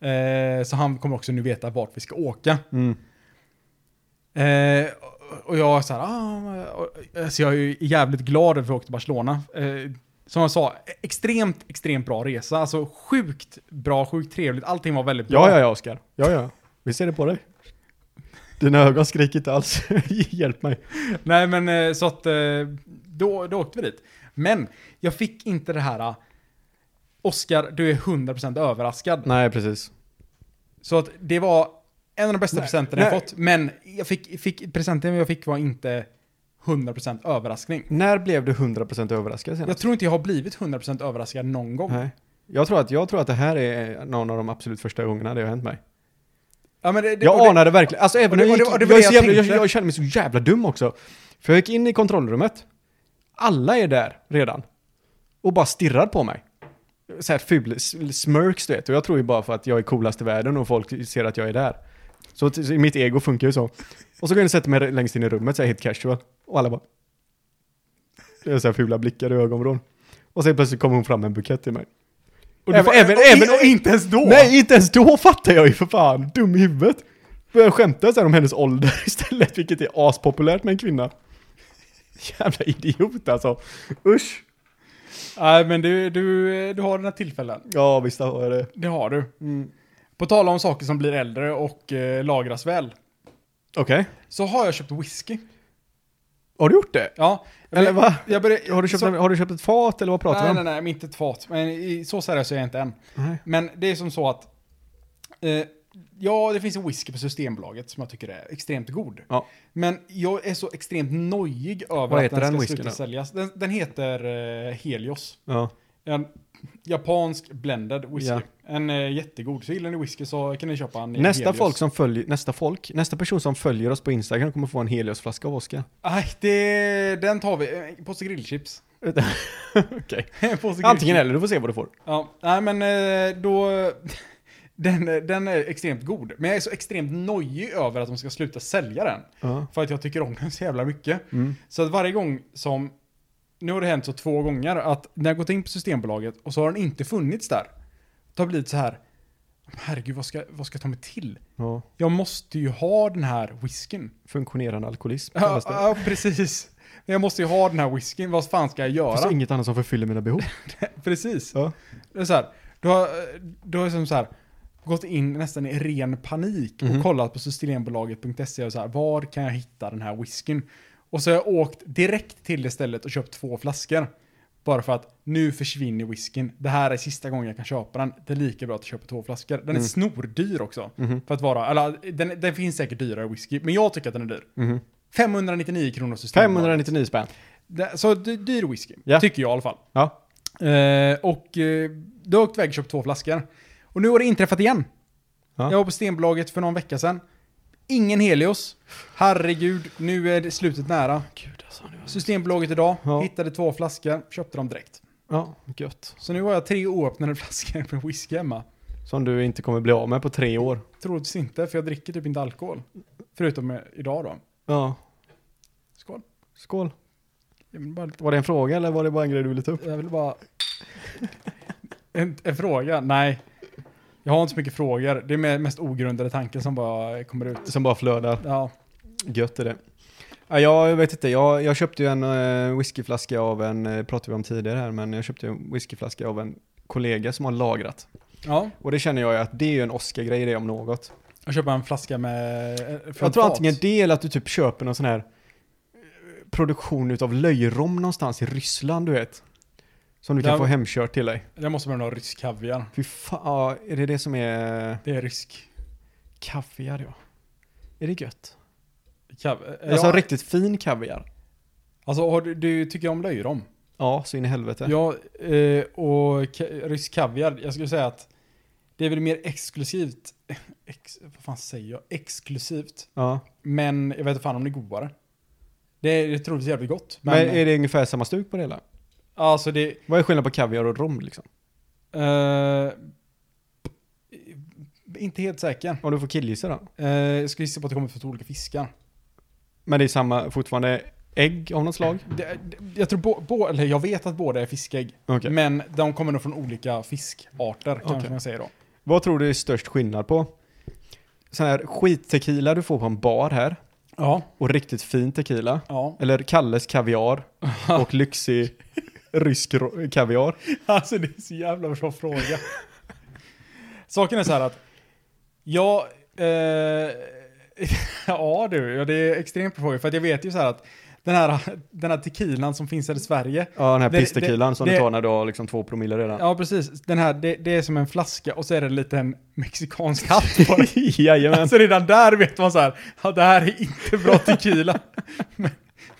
A: Eh, så han kommer också nu veta vart vi ska åka.
B: Mm.
A: Eh, och jag är så här, ah, och- så jag är ju jävligt glad över att vi åkte till Barcelona. Eh, som jag sa, extremt, extremt bra resa. Alltså sjukt bra, sjukt trevligt. Allting var väldigt bra.
B: Ja, ja, ja, Oskar. Ja, ja. Vi ser det på dig. Dina ögon skriker inte alls. Hjälp mig.
A: Nej, men eh, så att eh, då, då åkte vi dit. Men jag fick inte det här, ah, Oscar, du är 100% överraskad.
B: Nej, precis.
A: Så att det var en av de bästa
B: Nej,
A: presenterna jag
B: nej.
A: fått. Men jag fick, fick, presenten jag fick var inte 100% överraskning.
B: När blev du 100% överraskad senast?
A: Jag tror inte jag har blivit 100% överraskad någon gång.
B: Nej. Jag tror, att, jag tror att det här är någon av de absolut första gångerna det har hänt mig.
A: Ja, men det, det, och
B: Jag
A: det-
B: anade verkligen, alltså även
A: det-
B: när jag
A: och det-
B: gick-
A: och det var
B: jag är
A: det
B: så
A: jag
B: jävla- jag,
A: tänkte.
B: jag kände mig så jävla dum också. För jag gick in i kontrollrummet, alla är där redan. Och bara stirrar på mig. Så här ful s- smirks du vet, och jag tror ju bara för att jag är coolast i världen och folk ser att jag är där. Så t- så mitt ego funkar ju så. Och så går jag in och sätter mig längst in i rummet, så här helt casual. Och alla bara... Det är så här fula blickar i ögonvrån. Och sen plötsligt kommer hon fram med en bukett till mig.
A: och du
B: Även-
A: får-
B: även-
A: och-
B: även-
A: och inte ens då!
B: Nej, inte ens då fattar jag ju för fan. Dum i huvudet. Börjar skämta så här om hennes ålder istället, vilket är aspopulärt med en kvinna. Jävla idiot alltså. Usch.
A: Nej, men du, du, du har den här tillfällen.
B: Ja, visst har jag det.
A: Det har du.
B: Mm.
A: På tal om saker som blir äldre och eh, lagras väl.
B: Okej.
A: Så har jag köpt whisky.
B: Har du gjort det?
A: Ja. jag
B: Eller
A: börjar-
B: va?
A: Jag börjar,
B: Har du köpt,
A: så,
B: en, har du köpt ett fat eller vad pratar vi
A: Nej, nej,
B: om?
A: nej, men inte ett fat. Men i, så seriös är jag inte än.
B: Nej.
A: Men det är som så att... Eh, ja, det finns en whisky på Systembolaget som jag tycker är extremt god.
B: Ja.
A: Men jag är så extremt nojig över
B: Vad
A: att
B: heter
A: den ska
B: den whiskyn
A: sluta
B: då?
A: säljas. Den, den heter eh, Helios.
B: Ja.
A: En japansk blended whisky.
B: Ja.
A: En eh, jättegod. Så gillar ni whisky så kan ni köpa en
B: Nästa
A: Helios.
B: folk som följer, nästa folk, nästa person som följer oss på Instagram kommer få en heliosflaska av Oskar.
A: Aj, det, den tar vi. Eh, En påse grillchips.
B: Okej.
A: En påse
B: Antingen
A: grillchips.
B: eller, du får se vad du får.
A: Ja, nej men eh, då... Den, är- den är extremt god. Men jag är så extremt nojig över att de ska sluta sälja den.
B: Ja.
A: För att jag tycker om den så jävla mycket.
B: Mm.
A: Så att varje gång som... Nu har det hänt så två gånger att när jag gått in på Systembolaget och så har den inte funnits där. Då har det blivit så här... Herregud, vad ska, vad ska jag ta mig till?
B: ja.
A: Jag måste ju ha den här whiskyn.
B: Funktionerande alkoholism
A: Ja,
B: kallas det.
A: ja, precis. Jag måste ju ha den här whiskyn. Vad fan ska jag
B: Det finns
A: göra?
B: inget annat som förfyller mina behov.
A: Precis.
B: Ja.
A: Det är så här, du har, du har som så här, gått in nästan i ren panik och
B: Mhm.
A: kollat på systembolaget.se och så här, var kan jag hitta den här whiskyn? Och så har jag åkt direkt till det stället och köpt två flaskor. Bara för att nu försvinner whiskyn. Det här är sista gången jag kan köpa den. Det är lika bra att köpa två flaskor. Den är
B: Mm.
A: snordyr också.
B: Mhm.
A: För att vara, eller den, den finns säkert dyrare whisky, men jag tycker att den är dyr.
B: Mhm.
A: 599 kronor systembolaget.
B: 599 spänn.
A: Det- Så dy- dyr whisky,
B: Ja.
A: tycker jag i alla fall.
B: Ja.
A: Eh, och eh, då har jag åkt iväg och köpt två flaskor. Och nu har det inträffat igen.
B: Ja.
A: Jag var på Stenbolaget för någon vecka sedan. Ingen Helios. Herregud, nu är det slutet nära.
B: Gud alltså nu.
A: Systembolaget idag,
B: Ja.
A: hittade två flaskor, köpte dem direkt.
B: Ja, gött.
A: Så nu har jag tre oöppnade flaskor med whisky hemma.
B: Som du inte kommer bli av med på tre år.
A: Troligtvis inte, för jag dricker typ inte alkohol. Förutom eh, idag då.
B: Ja.
A: Skål.
B: Skål.
A: Jag vill bara,
B: Var det en fråga eller var det bara en grej du ville ta upp?
A: jag vill bara... En, en fråga? Nej. Jag har inte så mycket frågor. Det är mer- mest ogrundade tankar som bara kommer ut.
B: Som bara flödar.
A: Ja.
B: Gött är det. Ja, jag vet inte, jag, jag köpte ju en eh, whiskyflaska av en, eh, pratade vi om tidigare här, men jag köpte ju en whiskyflaska av en kollega som har lagrat.
A: Ja,
B: Och det känner jag ju att det är ju en Oscar-grej det om något.
A: jag köper en flaska med... eh, från
B: Jag tror
A: fat.
B: antingen det eller att du typ köper någon sån här eh, produktion utav löjrom någonstans i Ryssland, du vet. Som du kan
A: Ja.
B: få hemkört till dig.
A: Det måste vara någon rysk kaviar.
B: Fy fan, ja, är det det som är
A: Det är rysk.
B: kaviar ja? Är det gött?
A: Kav... eh,
B: Alltså
A: ja,
B: riktigt fin kaviar.
A: alltså har du, du tycker om löjrom?
B: Ja, så in i helvete.
A: Ja, eh, och ka- rysk kaviar. Jag skulle säga att det är väl mer exklusivt. eh, Ex, vad fan säger jag? Exklusivt.
B: Ja.
A: Men jag vet inte fan om det är godare. Det är, det är troligtvis jävligt gott. Men,
B: Men är det ungefär samma stuk på det hela?
A: alltså det...
B: Vad är skillnaden på kaviar och rom liksom?
A: Eh, inte helt säker.
B: Om du får killgissa då?
A: Eh, jag skulle gissa på att det kommer från två olika fiskar.
B: Men det är samma, fortfarande ägg av något slag?
A: Det, det- jag, tror bo, bo, eller jag vet att båda är fiskägg,
B: Okej.
A: men de kommer nog från olika fiskarter, kanske
B: Okej.
A: man säger då.
B: Vad tror du är störst skillnad på? Sån här skittequila du får på en bar här
A: Ja,
B: och riktigt fin tequila.
A: ja.
B: Eller Kalles kaviar och lyxig rysk ro- kaviar.
A: Alltså det är så jävla bra fråga. Saken är så här att, jag, eh, ja du, ja, det är extremt bra fråga, för att jag vet ju så här att den här, den här tequilan som finns här i Sverige,
B: Ja, den här
A: Det-
B: pisstequilan som
A: det-
B: du tar när du har liksom två promille redan.
A: ja precis, den här, det, det är som en flaska och så är det en liten mexikansk hatt på den.
B: Jajamän.
A: Alltså redan där vet man så här, ja, det här är inte bra tequila. men,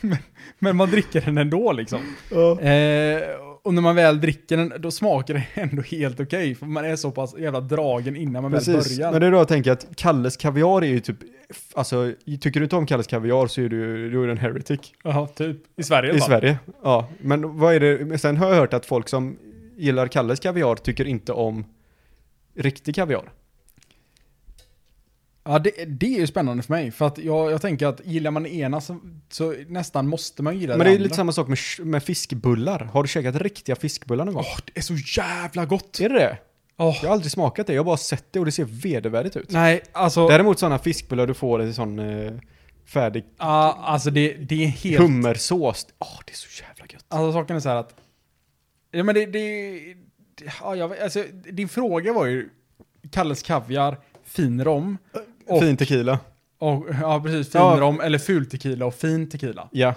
A: men, men man dricker den ändå liksom.
B: Ja.
A: Eh, och när man väl dricker den, då smakar det ändå helt okej. för man är så pass jävla dragen innan man
B: Precis,
A: väl börjar.
B: men det är då jag tänker att Kalles kaviar är ju typ, alltså tycker du inte om Kalles kaviar så är du, du är en heretic
A: Ja, typ. I Sverige
B: i
A: va?
B: Sverige. Ja, men vad är det, men sen har jag hört att folk som gillar Kalles kaviar tycker inte om riktig kaviar.
A: Ja, det, det är ju spännande för mig. För att jag, jag tänker att gillar man det ena så, så nästan måste man gilla
B: Men det är
A: andra.
B: lite samma sak med, sh- med fiskbullar. Har du käkat riktiga fiskbullar någon gång?
A: Åh, det är så jävla gott!
B: Är det det?
A: Åh,
B: Jag har aldrig smakat det, jag har bara sett det och det ser vedervärdigt ut.
A: Nej, alltså,
B: Däremot sådana fiskbullar du får i sån eh, färdig
A: ja, alltså det, det är helt...
B: hummersås. Åh, det är så jävla gött.
A: Alltså saken är så här att... Ja men det... det, det ja, jag, vet- alltså, din fråga var ju Kalles Kaviar, fin rom. Och,
B: Fin tequila.
A: Och, ja precis, fin
B: Ja.
A: rom eller ful tequila och fin tequila.
B: Ja.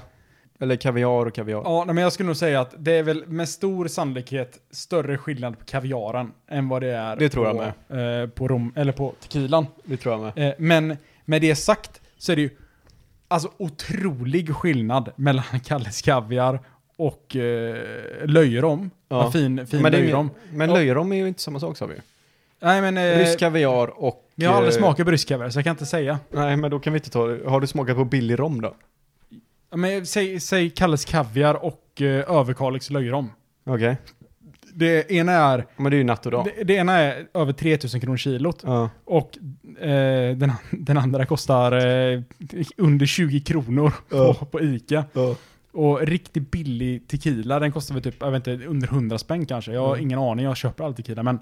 B: Eller kaviar och kaviar.
A: Ja, nej, men jag skulle nog säga att det är väl med stor sannolikhet större skillnad på kaviaren än vad det är
B: Det tror jag
A: på, med. Eh, på rom, eller på tequilan.
B: Det tror jag med.
A: Eh, men med det sagt så är det ju alltså otrolig skillnad mellan Kalles Kaviar och eh, löjrom.
B: Ja.
A: Ja. Fin, fin
B: men det är
A: löjrom.
B: ingen- men
A: Ja.
B: löjrom är ju inte samma sak sa vi ju.
A: Nej men... Eh,
B: Rysk kaviar och...
A: jag har aldrig
B: eh,
A: smakat på rysk kaviar så jag kan inte säga.
B: Nej, men då kan vi inte ta det. Har du smakat på billig rom då?
A: Men säg, säg Kalles Kaviar och eh, Överkalix löjrom.
B: Okej.
A: Det ena är...
B: Men det är ju natt och dag.
A: Det, det ena är över 3000 kronor kilot
B: Ja.
A: och eh, den, an- den andra kostar eh, under 20 kronor
B: Ja.
A: på, på Ica. Och riktigt billig tequila, den kostar väl typ, jag vet inte, under 100 spänn kanske. Jag har
B: Mm.
A: ingen aning, jag köper all tequila. Men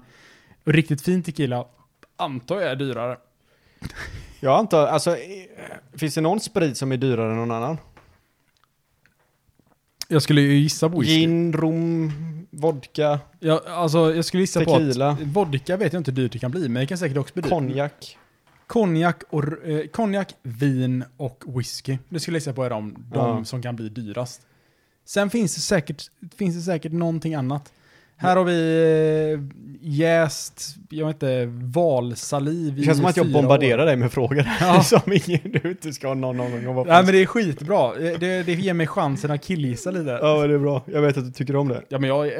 A: riktigt fin tequila antar jag är dyrare.
B: Jag antar, alltså, eh, finns det någon sprit som är dyrare än någon annan?
A: Jag skulle ju gissa på whisky.
B: Gin, rom, vodka,
A: Jag, alltså, jag skulle gissa
B: Tequila.
A: på att vodka vet jag inte hur dyrt det kan bli, men det kan säkert också bli dyrt.
B: konjak.
A: Konjak, och, eh, konjak, vin och whisky. Det skulle jag gissa på är de, de
B: Ja.
A: som kan bli dyrast. Sen finns det säkert, finns det säkert någonting annat. Här har vi eh, jäst, jag vet inte, valsaliv
B: Det känns som att jag
A: fyra
B: bombarderar
A: år.
B: dig med frågor
A: Ja.
B: som ingen, du inte ska ha någon någon gång.
A: Nej men det är skitbra. Eh, Det, det ger mig chansen att killgissa lite.
B: Ja, men det är bra. Jag vet att du tycker om det.
A: Ja men jag, eh,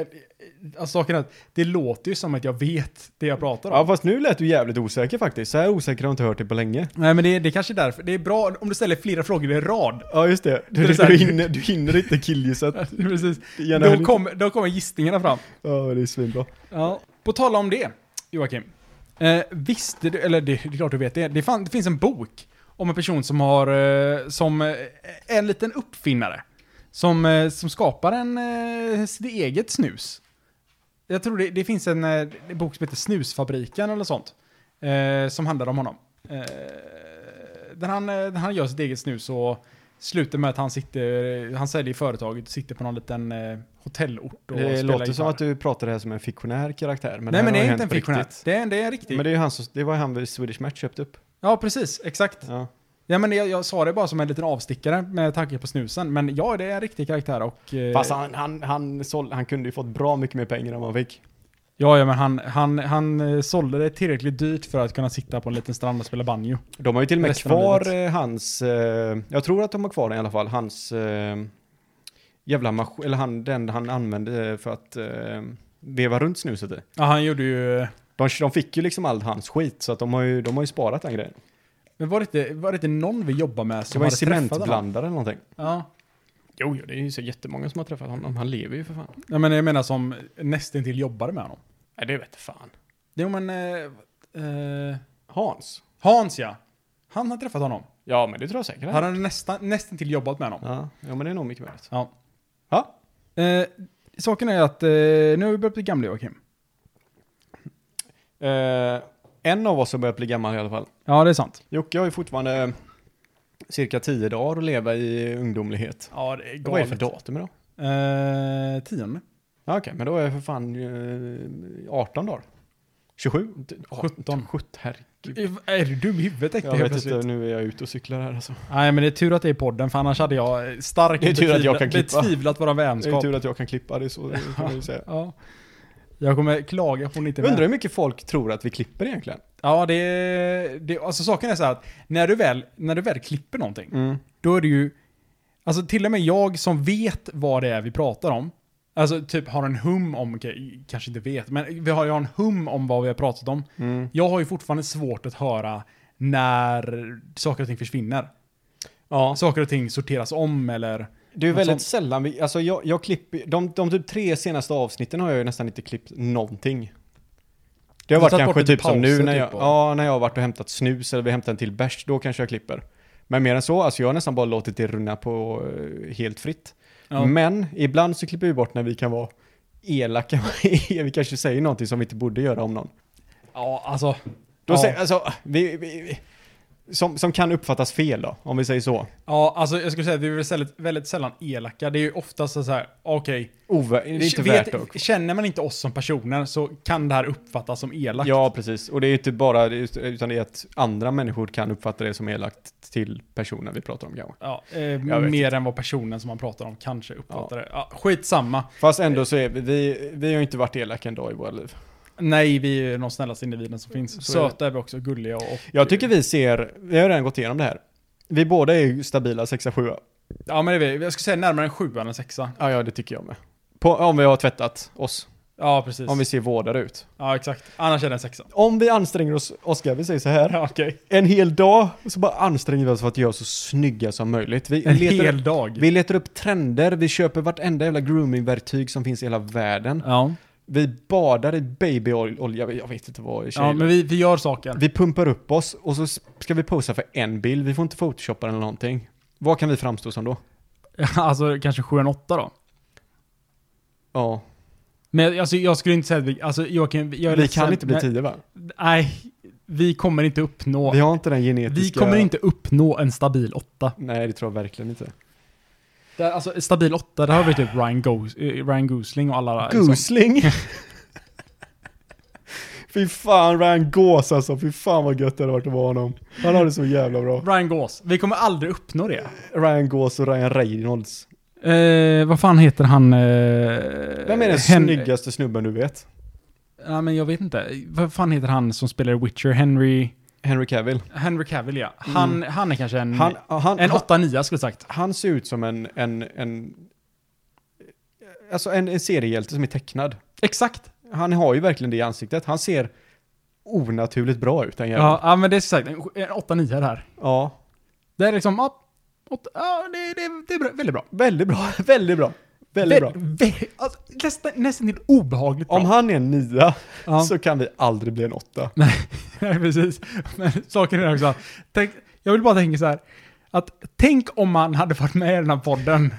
A: alltså saken är att det låter ju som att jag vet det jag pratar om.
B: Ja, fast nu lät du jävligt osäker faktiskt. Så här osäker har jag inte hört dig på länge.
A: Nej men det, det kanske är därför, det är bra om du ställer flera frågor i rad.
B: Ja, just det.
A: Det
B: Du,
A: är
B: du,
A: så här-
B: hinner, du hinner inte killgissa.
A: Precis.
B: Gärna
A: Då
B: helg.
A: kommer, då kommer gissningarna fram.
B: Ja, men det är svinbra.
A: Ja. På tal om det, Joakim. Eh, visste du, eller det, det är klart du vet det, det, fan, det finns en bok om en person som har, eh, som eh, är en liten uppfinnare. Som, eh, som skapar en, eh, sitt eget snus. Jag tror det, det finns en eh, bok som heter Snusfabriken eller sånt. Eh, som handlar om honom. Eh, där, han, eh, där han gör sitt eget snus och slutar med att han sitter, han säljer företaget och sitter på någon liten eh, hotellort och
B: Det
A: spelar
B: låter som
A: gitarr.
B: att du pratar det här som en fiktionär karaktär. Men
A: Nej men det
B: här
A: är
B: har
A: inte en
B: hänt på
A: fiktion.
B: riktigt.
A: Det är, det är en riktig.
B: Men det, är ju han som, det var ju han vid Swedish Match köpte upp.
A: Ja precis, exakt.
B: Ja.
A: Ja, men jag, jag sa det bara som en liten avstickare med tanke på snusen. Men ja, det är en riktig karaktär och... eh,
B: Fast han, han, han, såld, han kunde ju fått bra mycket mer pengar än vad han fick.
A: Ja, ja men han, han, han eh, sålde det tillräckligt dyrt för att kunna sitta på en liten strand och spela banjo.
B: De har ju till och med
A: Resten av
B: kvar eh, hans, eh, jag tror att de har kvar den i alla fall, hans eh, jävla maskin, eller han, den han använde för att eh, veva runt snuset i.
A: Ja, han gjorde ju... eh,
B: De, de fick ju liksom all hans skit, så att de har ju, de har ju sparat den grejen.
A: Men var det inte, var det inte någon vi jobbar med
B: Det
A: som
B: var ju
A: hade träffat honom?
B: cementblandare eller någonting.
A: Ja.
C: Jo, jo, det är ju så jättemånga som har träffat honom. Han lever ju för fan.
A: ja, men jag menar som nästintill jobbade med honom.
C: Nej, det vet fan.
A: Jo men... Eh, eh,
B: Hans?
A: Hans ja. Han har träffat honom.
B: Ja, men det tror jag säkert.
A: Han har nästan, nästan till jobbat med honom.
B: Ja, ja, men det är nog mycket möjligt.
A: Ja.
B: Ja,
A: Eh, saken är att eh, nu har vi börjat bli gamla Joakim.
B: Eh, en av oss har börjat bli gammal i alla fall.
A: Ja, det är sant.
B: Jocke har ju fortfarande eh, cirka tio dagar att leva i ungdomlighet.
A: Ja, det är galet.
B: Vad är det för datum idag?
A: Eh, tionde.
B: Ja, Okej, men då är jag för fan eh, 18 dagar. 27?
A: 17.
B: 17, herregud.
A: Är du dum i huvudet äkta
B: Jag vet inte, nu är jag ute och cyklar här alltså.
A: Nej, men det är tur att det är podden, för annars hade jag starkt
B: Det är tur att jag kan klippa.
A: betvivlat våra
B: Det är
A: vänskap.
B: tur att jag kan klippa, det är så det kan man ju säga.
A: Ja. Jag kommer klaga på inte
B: Jag undrar hur mycket folk tror att vi klipper egentligen?
A: Ja, det, det... Alltså saken är så här att när du väl, när du väl klipper någonting,
B: Mm,
A: då är det ju... Alltså till och med jag som vet vad det är vi pratar om, alltså typ har en hum om, okej, kanske inte vet, men vi har ju en hum om vad vi har pratat om.
B: mm.
A: Jag har ju fortfarande svårt att höra när saker och ting försvinner.
B: Ja,
A: Saker och ting sorteras om eller...
B: det är
A: något
B: väldigt
A: sånt.
B: sällan vi, alltså jag, jag klipper, de, de typ tre senaste avsnitten har jag ju nästan inte klippt någonting. Det har
A: Du har
B: varit
A: tagit
B: kanske
A: bort lite
B: typ som
A: pauser
B: nu när
A: typ
B: jag,
A: och-
B: ja, när jag har varit och hämtat snus eller vi hämtar en till bärs, då kanske jag klipper. Men mer än så, alltså jag har nästan bara låtit det runna på eh, helt fritt.
A: Ja.
B: Men ibland så klipper vi bort när vi kan vara elaka, vi kanske säger någonting som vi inte borde göra om någon.
A: Ja, alltså...
B: Då
A: ja.
B: säger, alltså, vi, vi, vi, som, som kan uppfattas fel då, om vi säger så.
A: Ja, alltså jag skulle säga att vi är väldigt, sällan- väldigt sällan elaka. Det är ju oftast så här, okej.
B: Ovä- det är inte värt
A: vet-
B: att...
A: Känner man inte oss som personer så kan det här uppfattas som elakt.
B: Ja, precis. Och det är ju inte bara, det är just- utan det är att andra människor kan uppfatta det som elakt till personen vi pratar om kanske.
A: Ja, eh,
B: Jag vet
A: mer än vad personen som man pratar om kanske uppfattar
B: Ja.
A: det. Ja, skitsamma.
B: Fast ändå så är vi, vi, vi har ju inte varit elaka en dag i våra liv.
A: Nej, vi är ju de snällaste individen som finns.
B: Så är det.
A: Söta är vi också, gulliga och... och
B: Jag tycker vi ser, vi har redan gått igenom det här. Vi båda är ju stabila 6-7.
A: Ja, men det är vi. Jag skulle säga närmare en sjua än en sexa.
B: Ja, ja, det tycker jag med. På, om vi har tvättat oss,
A: Ja, precis.
B: om vi ser vårdare ut.
A: Ja, exakt. Annars är det en sexa.
B: Om vi anstränger oss, Oskar, vi säger så här.
A: Ja, okej.
B: En hel dag så bara anstränger vi oss för att göra oss så snygga som möjligt. Vi,
A: En
B: letar,
A: hel dag.
B: vi letar upp trender, vi köper vartenda jävla groomingverktyg som finns i hela världen.
A: Ja,
B: Vi badar i babyolja, jag vet inte vad tjejer
A: ja men vi, vi gör saker.
B: Vi pumpar upp oss och så ska vi posa för en bild, vi får inte photoshoppa den eller någonting. Vad kan vi framstå som då?
A: alltså kanske sju och en åtta då.
B: Ja,
A: Men alltså, jag skulle inte säga att vi, alltså Joakim, jag är
B: vi
A: ledsen,
B: kan inte bli
A: men-
B: tio va?
A: Nej, vi kommer inte uppnå,
B: Vi har inte den
A: vi,
B: genetiska...
A: kommer inte uppnå en stabil åtta.
B: Nej, det tror jag verkligen inte.
A: Där, alltså stabil åtta, där har vi typ Ryan, Gos, eh, Ryan Gosling och alla... liksom.
B: Gosling! fy fan, Ryan Gås alltså. Fy fan vad gött det hade varit att vara honom. Han har det så jävla bra.
A: Liksom. Ryan Gås. Vi kommer aldrig uppnå det.
B: Ryan Gås och Ryan Reynolds.
A: Eh, vad fan heter han? Eh,
B: Vem är den
A: Hen-
B: snyggaste snubben du vet?
A: Nej men jag vet inte. Vad fan heter han som spelar Witcher? Henry... Mm.
B: Henry Cavill.
A: Henry Cavill ja. Han, han är kanske en...
B: Han, han,
A: Mm. en
B: han,
A: 8-9 skulle jag sagt.
B: han ser ut som en, en, en, alltså en, en seriehjälte som är tecknad.
A: Exakt.
B: Han har ju verkligen det i ansiktet. Han ser onaturligt bra ut den jäveln.
A: Ja, ja men det är som sagt en en 8-9 där.
B: ja.
A: Det är liksom... Ja, åtta- ja det, det, det är bra, väldigt bra.
B: Väldigt bra, väldigt bra. Väldigt bra.
A: Vä- vä- alltså, nästan, nästan till obehagligt bra.
B: Om han är en nia
A: Ja.
B: så kan vi aldrig bli en åtta.
A: Nej, precis. Men saken är också att- tänk, jag vill bara tänka så här, att tänk om man hade varit med i den här podden.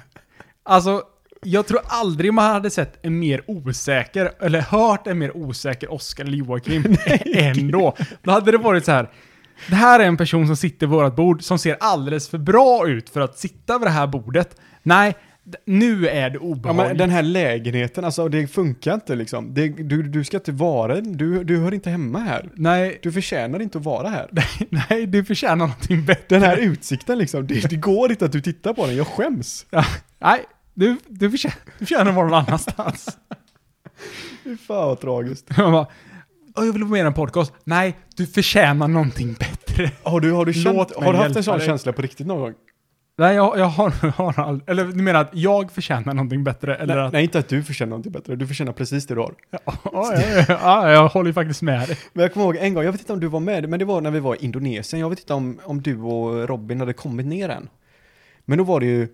A: Alltså, jag tror aldrig man hade sett en mer osäker, eller hört en mer osäker Oscar eller Joakim än då. Då hade det varit så här, det här är en person som sitter vid vårt bord som ser alldeles för bra ut för att sitta vid det här bordet. Nej, d- nu är det
B: Ja, men
A: obehagligt.
B: den här lägenheten, alltså det funkar inte liksom. Det, du, du ska inte vara, du, du hör inte hemma här.
A: Nej,
B: Du förtjänar inte att vara här.
A: nej, du förtjänar någonting bättre.
B: Den här utsikten liksom, det, det går inte att du tittar på den, jag skäms.
A: Ja, nej, du, du, förtjänar, du förtjänar att vara någon annanstans.
B: Fy fan vad tragiskt.
A: Man bara, "Åh, jag vill vara med i en podcast. Nej, du förtjänar någonting bättre.
B: Har du, har du, känt,
A: Låt mig
B: har du haft en
A: hjälpa
B: sån
A: dig.
B: känsla på riktigt någon gång?
A: Nej, jag, jag har, jag har all, Eller du menar att jag förtjänar någonting bättre? Eller
B: nej,
A: att,
B: nej, inte att du förtjänar någonting bättre, du förtjänar precis det du har.
A: Ja, ja, ja, ja, jag håller ju faktiskt med dig.
B: Men jag kommer ihåg en gång, jag vet inte om du var med, men det var när vi var i Indonesien, jag vet inte om, om du och Robin hade kommit ner än. Men då var det ju,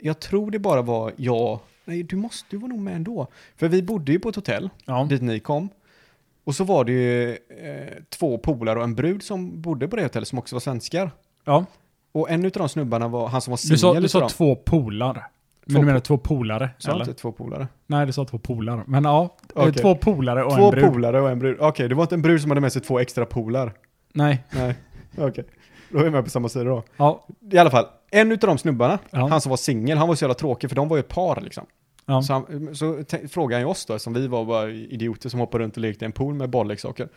B: jag tror det bara var jag, nej du måste, du var nog med ändå. För vi bodde ju på ett hotell,
A: Ja.
B: dit ni kom. Och så var det ju eh, två polare och en brud som bodde på det hotellet som också var svenskar.
A: Ja.
B: Och en utav de snubbarna var han som var
A: Du sa,
B: singel
A: du
B: utav
A: sa
B: dem.
A: två polar. Men
B: Två
A: du menar två typ. polare?
B: Sa jag
A: eller?
B: inte två polare?
A: Nej, du sa två polar. Men ja, eh,
B: Okej.
A: två polare och
B: två
A: en brud.
B: polare och en brud. Okej, det var inte en brud som hade med sig två extra polar.
A: Nej,
B: Nej, okej. Då är vi med på samma sida då.
A: ja.
B: I alla fall, en utav de snubbarna,
A: Ja.
B: han som var singel, han var så jävla tråkig för de var ju ett par liksom.
A: ja.
B: Så, han, så te- frågade han ju oss då, som vi var bara idioter som hoppade runt och lekte i en pool med bolleksaker.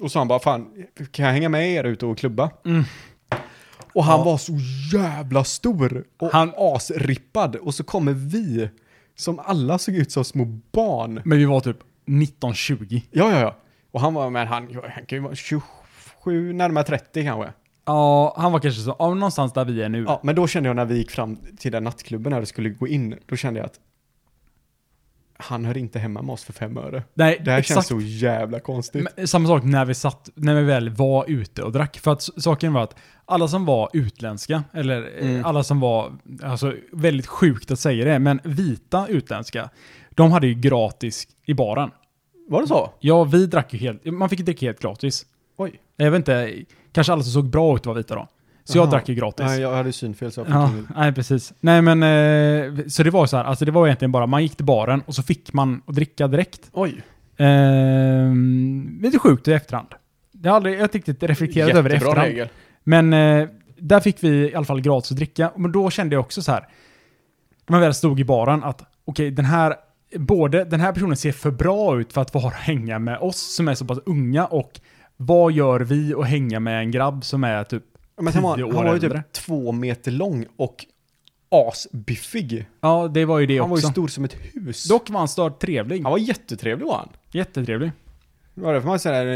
B: Och så han bara, fan, kan jag hänga med er ut och klubba?
A: Mm.
B: Och han
A: Ja.
B: var så jävla stor och
A: Han-
B: asrippad. Och så kommer vi, som alla såg ut som små barn.
A: Men vi var typ 1920.
B: Ja, ja, ja. Och han var, men han, han kan ju vara 27, närmare 30 kanske.
A: Ja, han var kanske så, ja, någonstans där vi är nu.
B: Ja, men då kände jag när vi gick fram till den nattklubben när vi skulle gå in, då kände jag att han hör inte hemma med oss för fem öre.
A: Nej,
B: Det här
A: exakt.
B: känns så jävla konstigt.
A: Men, samma sak när vi satt, när vi väl var ute och drack. För att s- saken var att alla som var utländska, eller eh,
B: Mm.
A: alla som var, alltså väldigt sjukt att säga det, men vita utländska, de hade ju gratis i baren.
B: var det så?
A: Ja, vi drack ju helt, man fick ju dricka helt gratis.
B: Oj.
A: Jag vet inte, kanske alla som såg bra ut var vita då. Så jag
B: Aha.
A: drack ju gratis.
B: Nej, jag hade synfel så jag fick
A: Ja,
B: ingen...
A: nej precis. Nej men, eh, så det var så här, alltså det var egentligen bara, man gick till baren och så fick man att dricka direkt.
B: Oj.
A: Ehm, lite sjukt i efterhand. Det har aldrig, jag har inte riktigt reflekterat över det i efterhand.
B: regel.
A: Men eh, där fick vi i alla fall gratis att dricka. Men då kände jag också så här, när man väl stod i baren, att okej den här, både den här personen ser för bra ut för att vara och hänga med oss som är så pass unga och vad gör vi att hänga med en grabb som är typ
B: Men han var,
A: Tio år
B: han var ju
A: äldre.
B: typ två meter lång och asbiffig.
A: Ja, det var ju det
B: Han var ju
A: också.
B: stor som ett hus.
A: Dock var han stört trevlig.
B: Han var jättetrevlig var han.
A: Jättetrevlig.
B: Det var därför man sådär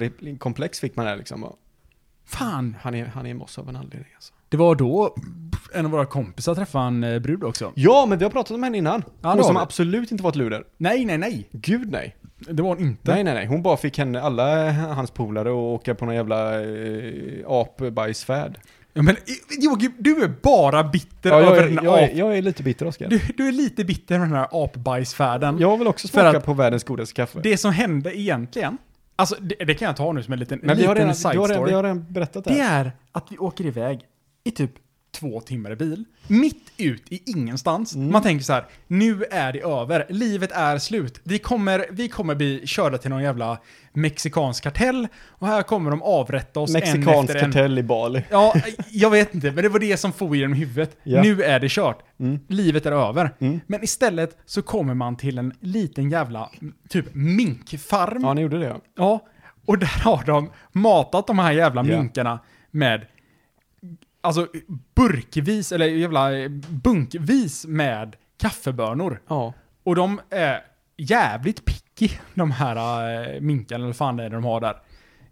B: minoritetskomplex fick man där liksom.
A: Fan,
B: Han är, han är moss av en anledning alltså.
A: det var då en av våra kompisar träffade en eh, brud också.
B: Ja, men vi har pratat om henne innan.
A: det
B: Hon
A: har
B: som
A: vi.
B: absolut inte var ett luder.
A: Nej, nej, nej.
B: Gud nej.
A: Det var hon inte.
B: Nej, nej, nej. Hon bara fick henne, alla hans polare och åka på någon jävla eh, apbajsfärd.
A: Ja, men Joakim, du är bara bitter
B: Ja, jag,
A: över
B: är-
A: den
B: jag,
A: här
B: är-
A: ap...
B: jag är lite bitter, Oskar.
A: Du, du är lite bitter över den här apbajsfärden.
B: Jag vill också
A: För
B: smaka
A: att-
B: på världens godaste kaffe.
A: Det som hände egentligen, alltså det, det kan jag ta nu som en liten,
B: men vi har,
A: liten
B: redan,
A: side
B: vi, har redan,
A: story.
B: vi har redan berättat det
A: Det
B: här.
A: är att vi åker iväg i typ två timmar i bil, mitt ut i ingenstans.
B: Mm.
A: Man tänker så här, nu är det över, livet är slut. Vi kommer, vi kommer bli körda till någon jävla mexikansk kartell och här kommer de avrätta oss en
B: Mexikansk
A: efter en.
B: kartell i Bali.
A: Ja, jag vet inte, men det var det som for genom huvudet.
B: Ja.
A: Nu är det kört.
B: Mm.
A: Livet är över.
B: Mm.
A: Men istället så kommer man till en liten jävla typ minkfarm.
B: Ja, ni gjorde det ja.
A: Ja, och där har de matat de här jävla
B: Ja.
A: minkarna med alltså burkvis, eller jävla eh, bunkvis med kaffebönor.
B: Ja.
A: Och de är jävligt picky, de här eh, minkarna, eller vad fan det är de har där.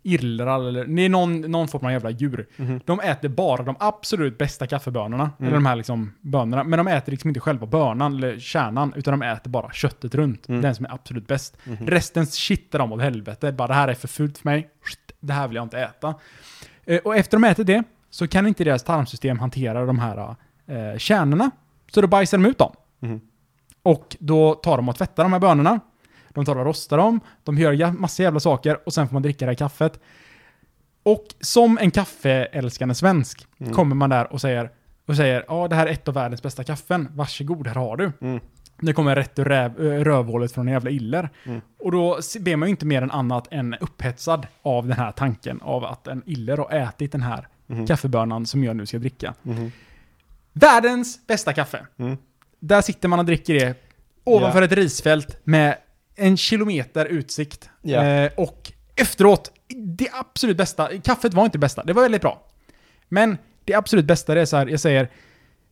A: Irrar eller, det är någon, någon form av jävla djur. De äter bara de absolut bästa kaffebönorna, eller de här liksom bönorna. Men de äter liksom inte själva bönan eller kärnan, utan de äter bara köttet runt. Den som är absolut bäst. Resten kittar de åt helvete. Bara det här är för fult för mig. Skit, Det här vill jag inte äta. Eh, Och efter de ätit det så kan inte deras tarmsystem hantera de här eh, kärnorna. Så då bajsar de ut dem. Och då tar de och tvättar de här bönorna. De tar och rostar dem. De gör ja- massa jävla saker och sen får man dricka det här kaffet. Och som en kaffeälskande svensk
B: Mm.
A: kommer man där och säger och säger ja det här är ett av världens bästa kaffen. Varsågod, här har du.
B: Mm.
A: Det kommer rätt ur räv, ö, rövhålet från en jävla iller.
B: Mm.
A: Och då se- blir man ju inte mer än annat än upphetsad av den här tanken av att en iller har ätit den här
B: Mm.
A: kaffebönan som jag nu ska dricka.
B: Mhm.
A: Världens bästa kaffe.
B: Mm.
A: Där sitter man och dricker det ovanför ett risfält med en kilometer utsikt.
B: Ja.
A: Eh, och efteråt, det absolut bästa, kaffet var inte det bästa, det var väldigt bra. Men det absolut bästa det är så här, jag säger,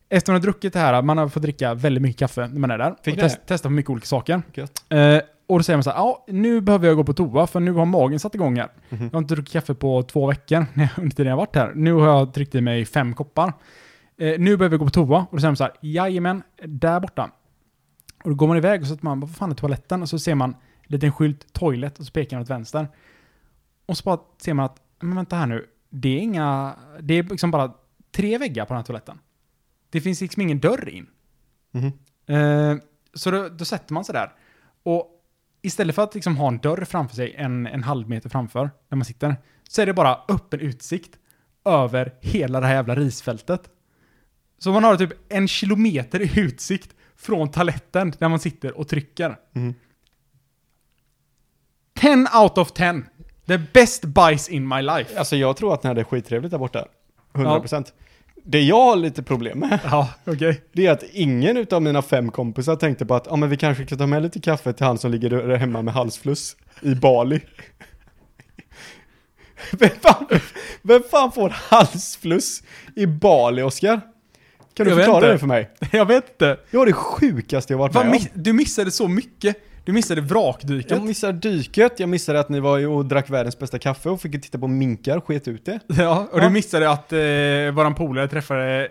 A: efter man har druckit det här, man har fått dricka väldigt mycket kaffe när man är där.
B: Fick
A: och
B: ni
A: test, testa på mycket olika saker.
B: Gött.
A: Eh, och då säger man så här, ja, nu behöver jag gå på toa för nu har magen satt igång här. Jag har inte druckit kaffe på två veckor när jag- under tiden jag har varit här. Nu har jag tryckt i mig fem koppar. Eh, nu behöver jag gå på toa. Och då säger man så här, jajamän, där borta. Och då går man iväg och så att man, vad fan är toaletten? Och så ser man en liten skylt, toilet, och så pekar den åt vänster. Och så bara ser man att, men vänta här nu, det är inga, det är liksom bara tre väggar på den här toaletten. Det finns liksom ingen dörr in.
B: Mhm.
A: Eh, så då, då sätter man sig där. Och istället för att liksom ha en dörr framför sig, en, en halv meter framför, när man sitter, så är det bara öppen utsikt över hela det här jävla risfältet. Så man har typ en kilometer i utsikt från taletten där man sitter och trycker.
B: Mm.
A: 10 out of 10. The best buys in my life.
B: Alltså jag tror att den hade skittrevligt där borta. 100%. Det jag har lite problem med,
A: Ja, okej.
B: det är att ingen utav mina fem kompisar tänkte på att ah, men vi kanske kan ta med lite kaffe till han som ligger där hemma med halsfluss i Bali. Vem fan, vem fan får halsfluss i Bali, Oskar? Kan du
A: Jag vet
B: förklara
A: inte.
B: det för mig?
A: Jag vet inte.
B: Det var det sjukaste jag varit
A: Vad
B: med om.
A: miss- du missade så mycket. Du missade vrakdyket.
B: Jag missade dyket, jag missade att ni var och drack världens bästa kaffe och fick titta på minkar, sket ut det.
A: Ja, och
B: Ja.
A: du missade att eh, våran polare träffade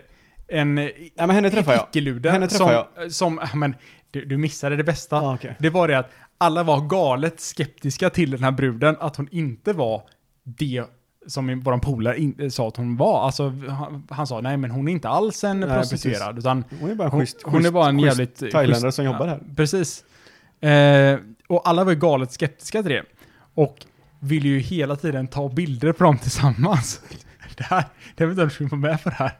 A: en i-
B: Nej men henne träffade jag. Henne
A: icke-lude som, eh,
B: träffade
A: som, ja, men du, du missade det bästa.
B: Ah, okej.
A: Det var det att alla var galet skeptiska till den här bruden, att hon inte var det som våran polare in- eh, sa att hon var. Alltså, han, han sa nej men hon är inte alls en
B: Nej,
A: prostituerad, utan
B: Hon är bara en
A: hon,
B: schysst,
A: hon är bara en
B: schysst
A: jävligt...
B: thailändare
A: schysst-
B: som jobbar här.
A: Ja, precis. Eh, och alla var ju galet skeptiska till det. Och ville ju hela tiden ta bilder på dem tillsammans. Det här, det vet jag inte om du skulle vara med för det här.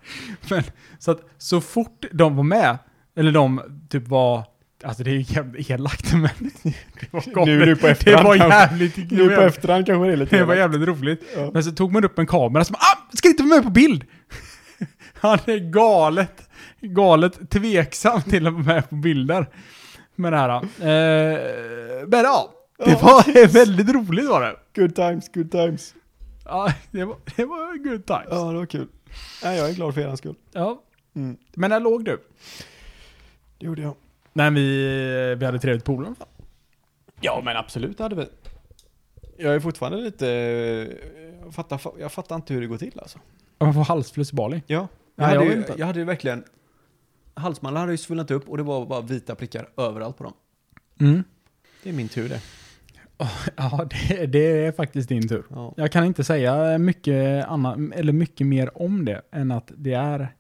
A: Men så att så fort de var med, eller de typ var, alltså det är ju jävligt elakt men det var galet.
B: Nu- nu på
A: Det
B: efterhand
A: var
B: kanske.
A: jävligt
B: Nu på
A: ignorant.
B: efterhand kanske det är lite...
A: Det var jävligt roligt.
B: Ja.
A: Men så tog man upp en kamera som ah, ska inte vara med på bild! Han är galet, galet tveksam till att vara med på bilder. Med det här. Eh, men ja, det
B: Ja.
A: var väldigt roligt var det.
B: Good times, good times.
A: Ja, det var, det var en good times.
B: Ja, det var kul. Nej, jag är glad för er skull.
A: Ja.
B: Mm.
A: Men när låg du?
B: Det gjorde jag.
A: När vi, vi hade trevligt på
B: Ja, men absolut hade vi. Jag är fortfarande lite... eh, Jag fattar, fa- jag fattar inte hur det går till alltså.
A: Man får halsfluss i Bali.
B: Ja. Jag,
A: Nej,
B: hade,
A: jag
B: ju,
A: vet inte.
B: jag hade ju verkligen... Halsmandlarna hade ju svullnat upp och det var bara vita prickar överallt på dem.
A: Mm.
B: Det är min tur det.
A: Ja, det, det är faktiskt din tur.
B: Ja.
A: Jag kan inte säga mycket, annat, eller mycket mer om det än att det är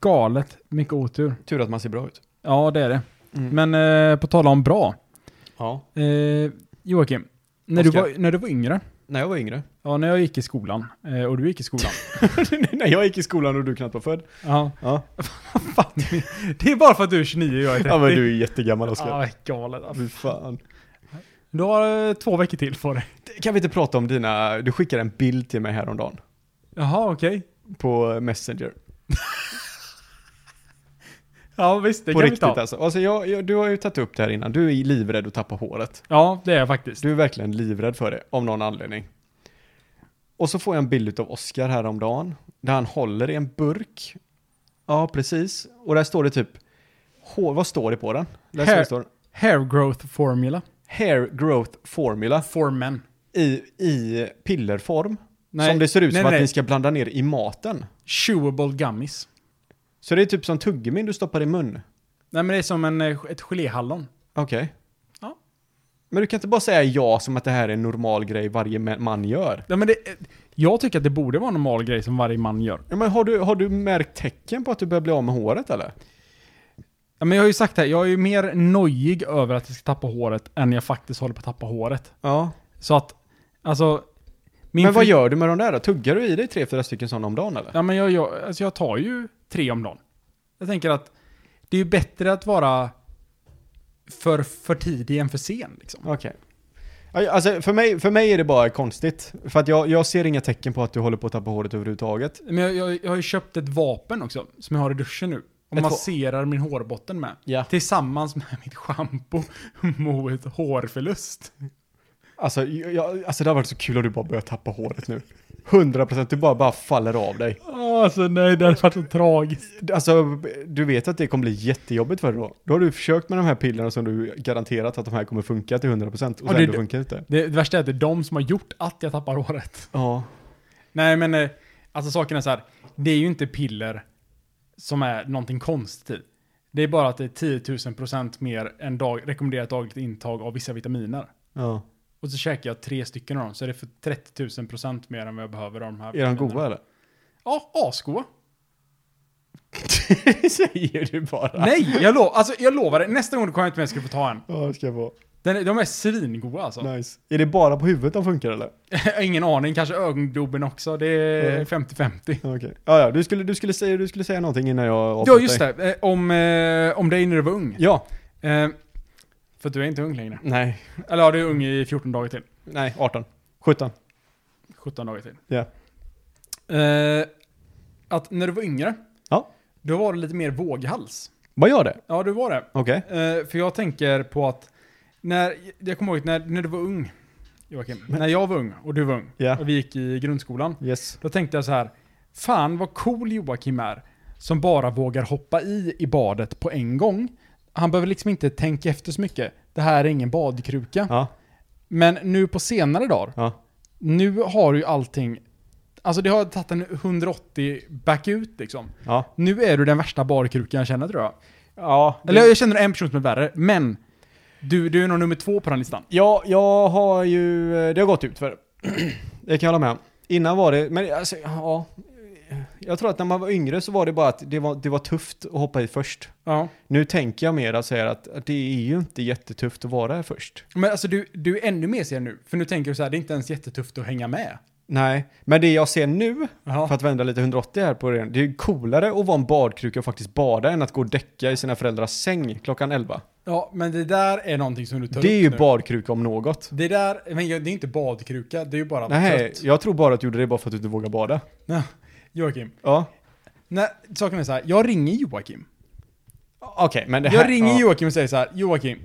A: galet mycket otur.
B: Tur att man ser bra ut.
A: Ja, det är det.
B: Mm.
A: Men eh, på tala om bra.
B: Ja.
A: Eh, Joakim, när du,
B: Oskar.
A: var, när du var yngre,
B: När jag var yngre.
A: ja, när jag gick i skolan, eh, och du gick i skolan.
B: när jag gick i skolan och du knappt var född.
A: ja,
B: Ja.
A: fan, det är bara för att du är 29 och jag är 30.
B: Ja men du är jättegammal Oskar.
A: Ja, galet. alltså.
B: Fy fan.
A: Du har eh, två veckor till på dig.
B: Kan vi inte prata om dina, du skickade en bild till mig häromdagen
A: Jaha, okej.
B: på Messenger.
A: Ja, visst, det
B: på
A: kan
B: riktigt
A: vi ta.
B: alltså. alltså jag, jag, du har ju tagit upp det här innan, du är livrädd att tappa håret.
A: Ja, det är jag faktiskt.
B: Du är verkligen livrädd för det, av någon anledning. Och så får jag en bild av Oscar häromdagen, där han håller i en burk. Ja, precis. Och där står det typ, hår, vad står det på den? Där
A: Hair-
B: står det står
A: Hair growth formula.
B: hair growth formula
A: For men.
B: i, i pillerform. som det ser ut
A: nej,
B: som att
A: nej.
B: ni ska blanda ner i maten.
A: Chewable gummies.
B: Så det är typ som tuggummin du stoppar i mun.
A: Nej men det är som en, eh, ett geléhallon.
B: Okej.
A: Ja.
B: Men du kan inte bara säga ja som att det här är en normal grej varje ma- man gör.
A: Nej, men det, eh, jag tycker att det borde vara en normal grej som varje man gör.
B: Ja, men har du, har du märkt tecken på att du börjar bli av med håret eller?
A: Ja, men jag har ju sagt det, här, jag är ju mer nojig över att jag ska tappa håret än jag faktiskt håller på att tappa håret.
B: Ja.
A: Så att, alltså... Min
B: Men vad
A: fri-
B: gör du med de där då? Tuggar du i dig tre, fyra stycken sådana om dagen eller?
A: Ja men jag, jag, alltså jag tar ju tre om dagen. Jag tänker att det är ju bättre att vara för, för tidig än för sen liksom.
B: Okej. Aj, Alltså för mig, för mig är det bara konstigt. För att jag, jag ser inga tecken på att du håller på att tappa håret överhuvudtaget.
A: Men jag, jag, jag har ju köpt ett vapen också, som jag har i duschen nu. Och
B: Ett va-
A: masserar min hårbotten med.
B: Ja.
A: Tillsammans med mitt schampo mot hårförlust.
B: Alltså, jag, jag- alltså det har varit så kul om du bara börjar tappa håret nu. 100% du bara, bara faller av dig.
A: Åh, Alltså nej, det hade varit så tragiskt.
B: Alltså, du vet att det kommer bli jättejobbigt för dig då. Då har du försökt med de här pillerna som du garanterat att de här kommer funka till 100% och
A: Ja,
B: sen
A: det-
B: det funkar inte.
A: Det, det värsta är att det är de som har gjort att jag tappar håret.
B: Ja.
A: Nej men, eh, alltså saken är så här. Det är ju inte piller som är någonting konstigt. Det är bara att det är 10 000% mer än dag, rekommenderat dagligt intag av vissa vitaminer.
B: ja.
A: Och så käkar jag tre stycken av dem, så är det för 30 000% mer än vad jag behöver av de här.
B: Är de
A: vitaminerna.
B: goda eller?
A: Ja, asgoda.
B: Säger du bara.
A: Nej, jag, lo- alltså, jag lovar dig. Nästa gång du kommer hem till mig ska du få ta en.
B: Ja, det ska jag få.
A: Den, de är svingoda alltså.
B: Nice. Är det bara på huvudet de funkar eller?
A: Ingen aning, kanske ögondobben också. Det är
B: Mm.
A: 50-50.
B: Okej. Ja, ja, du skulle, du, skulle säga, du skulle säga någonting innan jag
A: Ja,
B: avbröt
A: just
B: dig.
A: det. Eh, Om, eh, om dig när du var ung.
B: Ja.
A: Eh, för att du är inte ung längre.
B: Nej.
A: Eller ja, du är ung i 14 dagar till.
B: Nej, 18. 17.
A: 17 dagar till.
B: Ja.
A: Eh, att när du var yngre,
B: Ja.
A: då var du lite mer våghals.
B: Vad gör det?
A: Ja, du var det.
B: Okej.
A: Eh, för jag tänker på att, när, jag kommer ihåg när, när du var ung, Joakim, när jag var ung och du var ung,
B: Ja.
A: och vi gick i grundskolan,
B: Yes.
A: då tänkte jag så här, fan vad cool Joakim är, som bara vågar hoppa i i badet på en gång. Han behöver liksom inte tänka efter så mycket. Det här är ingen badkruka.
B: Ja.
A: Men nu på senare dagar,
B: Ja.
A: nu har ju allting, alltså det har tagit en 180 back ut liksom.
B: Ja.
A: Nu är du den värsta badkrukan jag känner tror jag.
B: Ja,
A: Eller jag känner en person som är värre, men du, du är nog nummer två på den listan.
B: Ja, jag har ju... eh, Det har gått ut för Det kan jag hålla med om. Innan var det... Men alltså, ja. Jag tror att när man var yngre så var det bara att det var, det var tufft att hoppa i först.
A: Ja.
B: Nu tänker jag mer så här att, att det är ju inte jättetufft att vara här först.
A: Men alltså du, du är ännu mer sen nu, för nu tänker du så här, det är inte ens jättetufft att hänga med.
B: Nej, men det jag ser nu,
A: Ja.
B: för att vända lite 180 här på det, det är ju coolare att vara en badkruka och faktiskt bada än att gå och däcka i sina föräldrars säng klockan 11.
A: ja, men det där är någonting som du tar
B: Det är
A: upp
B: ju
A: nu.
B: badkruka om något.
A: Det där, men jag- det är inte badkruka, det är ju bara
B: Nej,
A: trött.
B: jag tror bara att du gjorde det bara för att du inte vågar bada.
A: Nej. Joakim,
B: Ja,
A: nej, saken är så här, jag ringer Joakim.
B: okej, men det här...
A: Jag ringer
B: ja.
A: Joakim och säger så här, Joakim,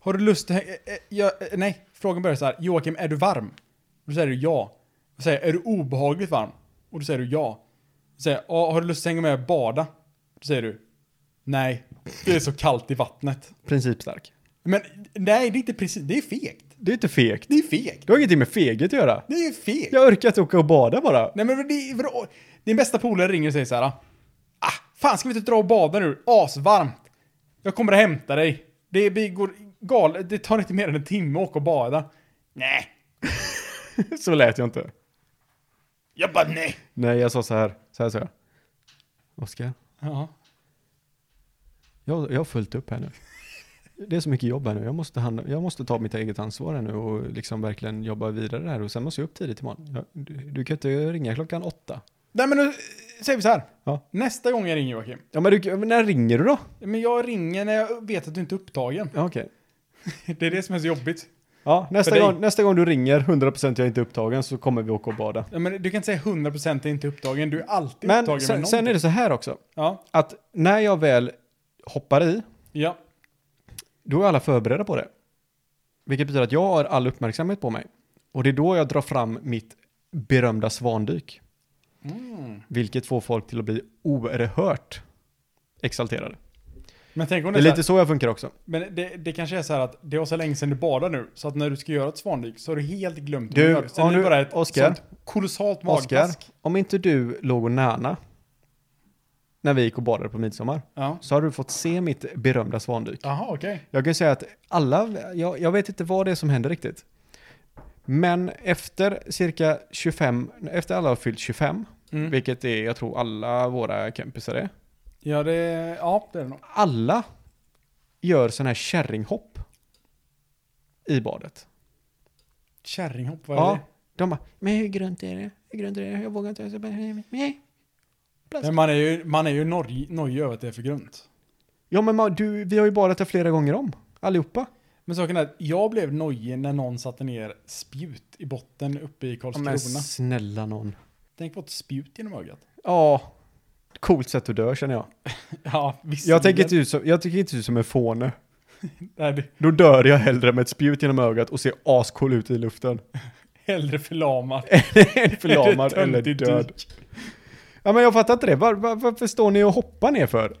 A: har du lust att häng- eh, eh, jag, eh, Nej, frågan börjar så här, Joakim, är du varm? Då säger du ja. Då säger jag, är du obehagligt varm? Och då säger du ja. Då säger jag, "Ja, har du lust att hänga med och bada? Då säger du, nej, det är så kallt i vattnet.
B: Principstark.
A: Men nej, det är inte precis, det är fegt.
B: Det är inte fegt.
A: Det är fegt.
B: Det har ingenting med feget att göra.
A: Det är fegt.
B: Jag orkar inte åka och bada bara.
A: Nej men det, vadå? din bästa polare ringer och säger så här. Ah, fan ska vi inte dra och bada nu? Asvarmt. Jag kommer att hämta dig. Det blir- går galet. Det tar inte mer än en timme att åka och bada. Nej.
B: Så lät jag inte.
A: Jag bara nej.
B: Nej, jag sa så här. Så här sa jag. Oskar,
A: Ja.
B: jag, jag har fullt upp här nu. Det är så mycket jobb här nu. Jag måste, handla, jag måste ta mitt eget ansvar här nu och liksom verkligen jobba vidare här. Och sen måste jag upp tidigt imorgon. Jag, du, du kan inte ringa klockan åtta.
A: Nej men nu säger vi så här.
B: Ja.
A: Nästa gång jag ringer Joakim.
B: Ja, men du, men när ringer du då?
A: Men jag ringer när jag vet att du inte är upptagen.
B: Ja, okej.
A: Det är det som är så jobbigt.
B: Ja, nästa
A: dig.
B: gång, nästa gång du ringer, 100% jag är inte upptagen, så kommer vi åka och bada.
A: Ja, men du kan inte säga 100% är inte upptagen. Du är alltid
B: Men
A: upptagen med
B: sen,
A: någonting.
B: sen är det så här också.
A: Ja.
B: Att när jag väl hoppar i,
A: Ja.
B: då är alla förberedda på det. Vilket betyder att jag har all uppmärksamhet på mig. Och det är då jag drar fram mitt berömda svandyk.
A: Mm.
B: Vilket får folk till att bli oerhört exalterade.
A: Men tänk om det
B: Det är
A: är så här-
B: lite så jag funkar också.
A: Men det, det kanske är så här att det var så länge sedan du badade nu, så att när du ska göra ett svandyk så har du helt glömt
B: Du,
A: hur man gör. Sen
B: om
A: är det
B: du-
A: bara ett
B: Oscar.
A: sånt kolossalt
B: Oskar,
A: magplask.
B: om inte du låg och näna när vi gick och badade på midsommar
A: Ja.
B: så har du fått se mitt berömda svandyk.
A: Jaha, okej.
B: Jag kan ju säga att alla, jag, jag vet inte vad det är som händer riktigt. Men efter cirka 25, efter alla har fyllt 25,
A: Mm.
B: vilket är, jag tror alla våra kompisar är,
A: Ja, det, ja, det är det nog.
B: alla gör sådana här kärringhopp i badet.
A: Kärringhopp, vad är
B: Ja, de bara, men hur grunt är det? Hur grunt är det? Jag vågar inte. Jag bara, nej.
A: det? Men man är ju, man är ju noj- nojig över att det är för grunt.
B: Ja, men ma- du, vi har ju badat här flera gånger om, allihopa.
A: Men saken är att jag blev nojig när någon satte ner spjut i botten uppe i Karlskrona.
B: snälla någon.
A: Tänk på ett spjut genom ögat.
B: Ja, coolt sätt att dö känner jag.
A: Ja, visst.
B: Jag tänker inte ut som, jag tycker inte ut som en fåne.
A: typ- Nej, det-
B: Då dör jag hellre med ett spjut genom ögat och ser ascool ut i luften.
A: hellre förlamad.
B: Förlamad eller
A: töntigt
B: död.
A: dyk?
B: Ja men jag fattar inte det. Var, var, varför står ni och hoppar ner för?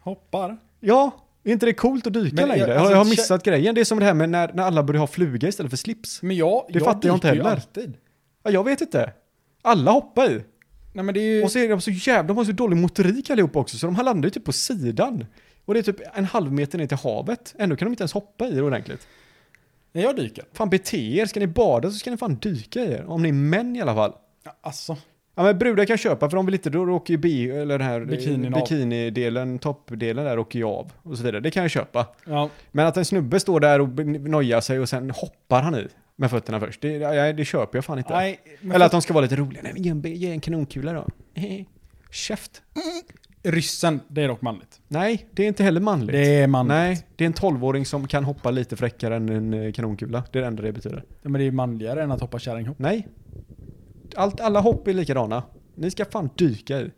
A: Hoppar.
B: Ja, är inte det coolt att dyka
A: Men jag-
B: längre? Jag,
A: alltså,
B: jag har
A: kä-
B: missat grejen. Det är som det här med när, när alla börjar ha fluga istället för slips.
A: Men jag,
B: Det fattar jag inte
A: dyker ju
B: heller.
A: Alltid.
B: Ja, jag vet inte. Alla hoppar i.
A: Nej, men det är ju...
B: Och så är de så jävla, de har så dålig motorik allihopa också så de här landar ju typ på sidan. Och det är typ en halv meter ner till havet. Ändå kan de inte ens hoppa i det ordentligt.
A: När jag dyker?
B: Fan bete er, ska ni bada så ska ni fan dyka i er. Om ni är män i alla fall.
A: Ja, Alltså.
B: Ja, Ja men brudar kan köpa för de vill inte, då åker ju bi, eller den här eh,
A: Bikinin av.
B: bikinidelen, toppdelen där åker ju av och så vidare. Det kan jag köpa.
A: Ja.
B: Men att en snubbe står där och b- nojar sig och sen hoppar han i med fötterna först, det, nej, det köper jag fan inte.
A: Nej, men
B: eller
A: för-
B: att de ska vara lite roliga, nej men ge en, bi- ge en kanonkula då. Käft.
A: Ryssen, det är dock manligt.
B: Nej, det är inte heller manligt.
A: Det är manligt.
B: Nej, det är en tolvåring som kan hoppa lite fräckare än en eh, kanonkula. Det är det enda det betyder.
A: Ja, Men det är ju manligare än att hoppa kärringhopp.
B: Nej. Allt, alla hopp är likadana. Ni ska fan dyka i.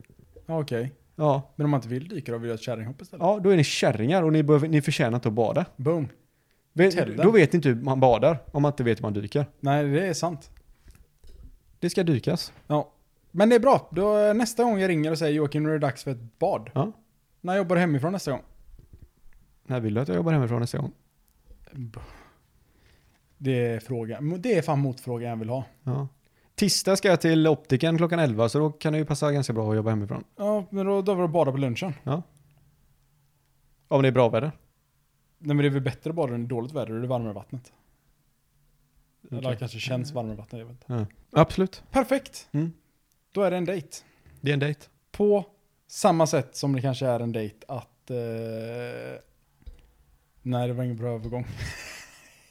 A: Ja, okej.
B: Ja,
A: Men om man inte vill dyka då vill jag ha ett kärringhopp istället.
B: ja då är ni kärringar och ni, behöver, ni förtjänar inte att bada.
A: Boom.
B: Vet,
A: Hotellen.
B: då vet ni inte hur man badar om man inte vet hur man dyker.
A: Nej, det är sant.
B: Det ska dykas.
A: Ja. Men det är bra. Då, nästa gång jag ringer och säger Joakim, nu är det dags för ett bad.
B: Ja.
A: När jag jobbar hemifrån nästa gång.
B: När vill du att jag jobbar hemifrån nästa gång?
A: Det är frågan. Det är fan motfrågan jag vill ha.
B: Ja. Tisdag ska jag till optiken klockan 11 så då kan det ju passa ganska bra att jobba hemifrån.
A: Ja, men då, då var det bada på lunchen.
B: Om det är bra väder.
A: Nej men det är väl bättre att bada än dåligt väder och det varmare vattnet. Eller det
B: Okej.
A: kanske känns varmare vattnet, jag vet inte.
B: Absolut.
A: Perfekt!
B: Mm.
A: Då är det en dejt.
B: Det är en dejt.
A: På samma sätt som det kanske är en dejt att... Eh, nej, det var ingen bra övergång.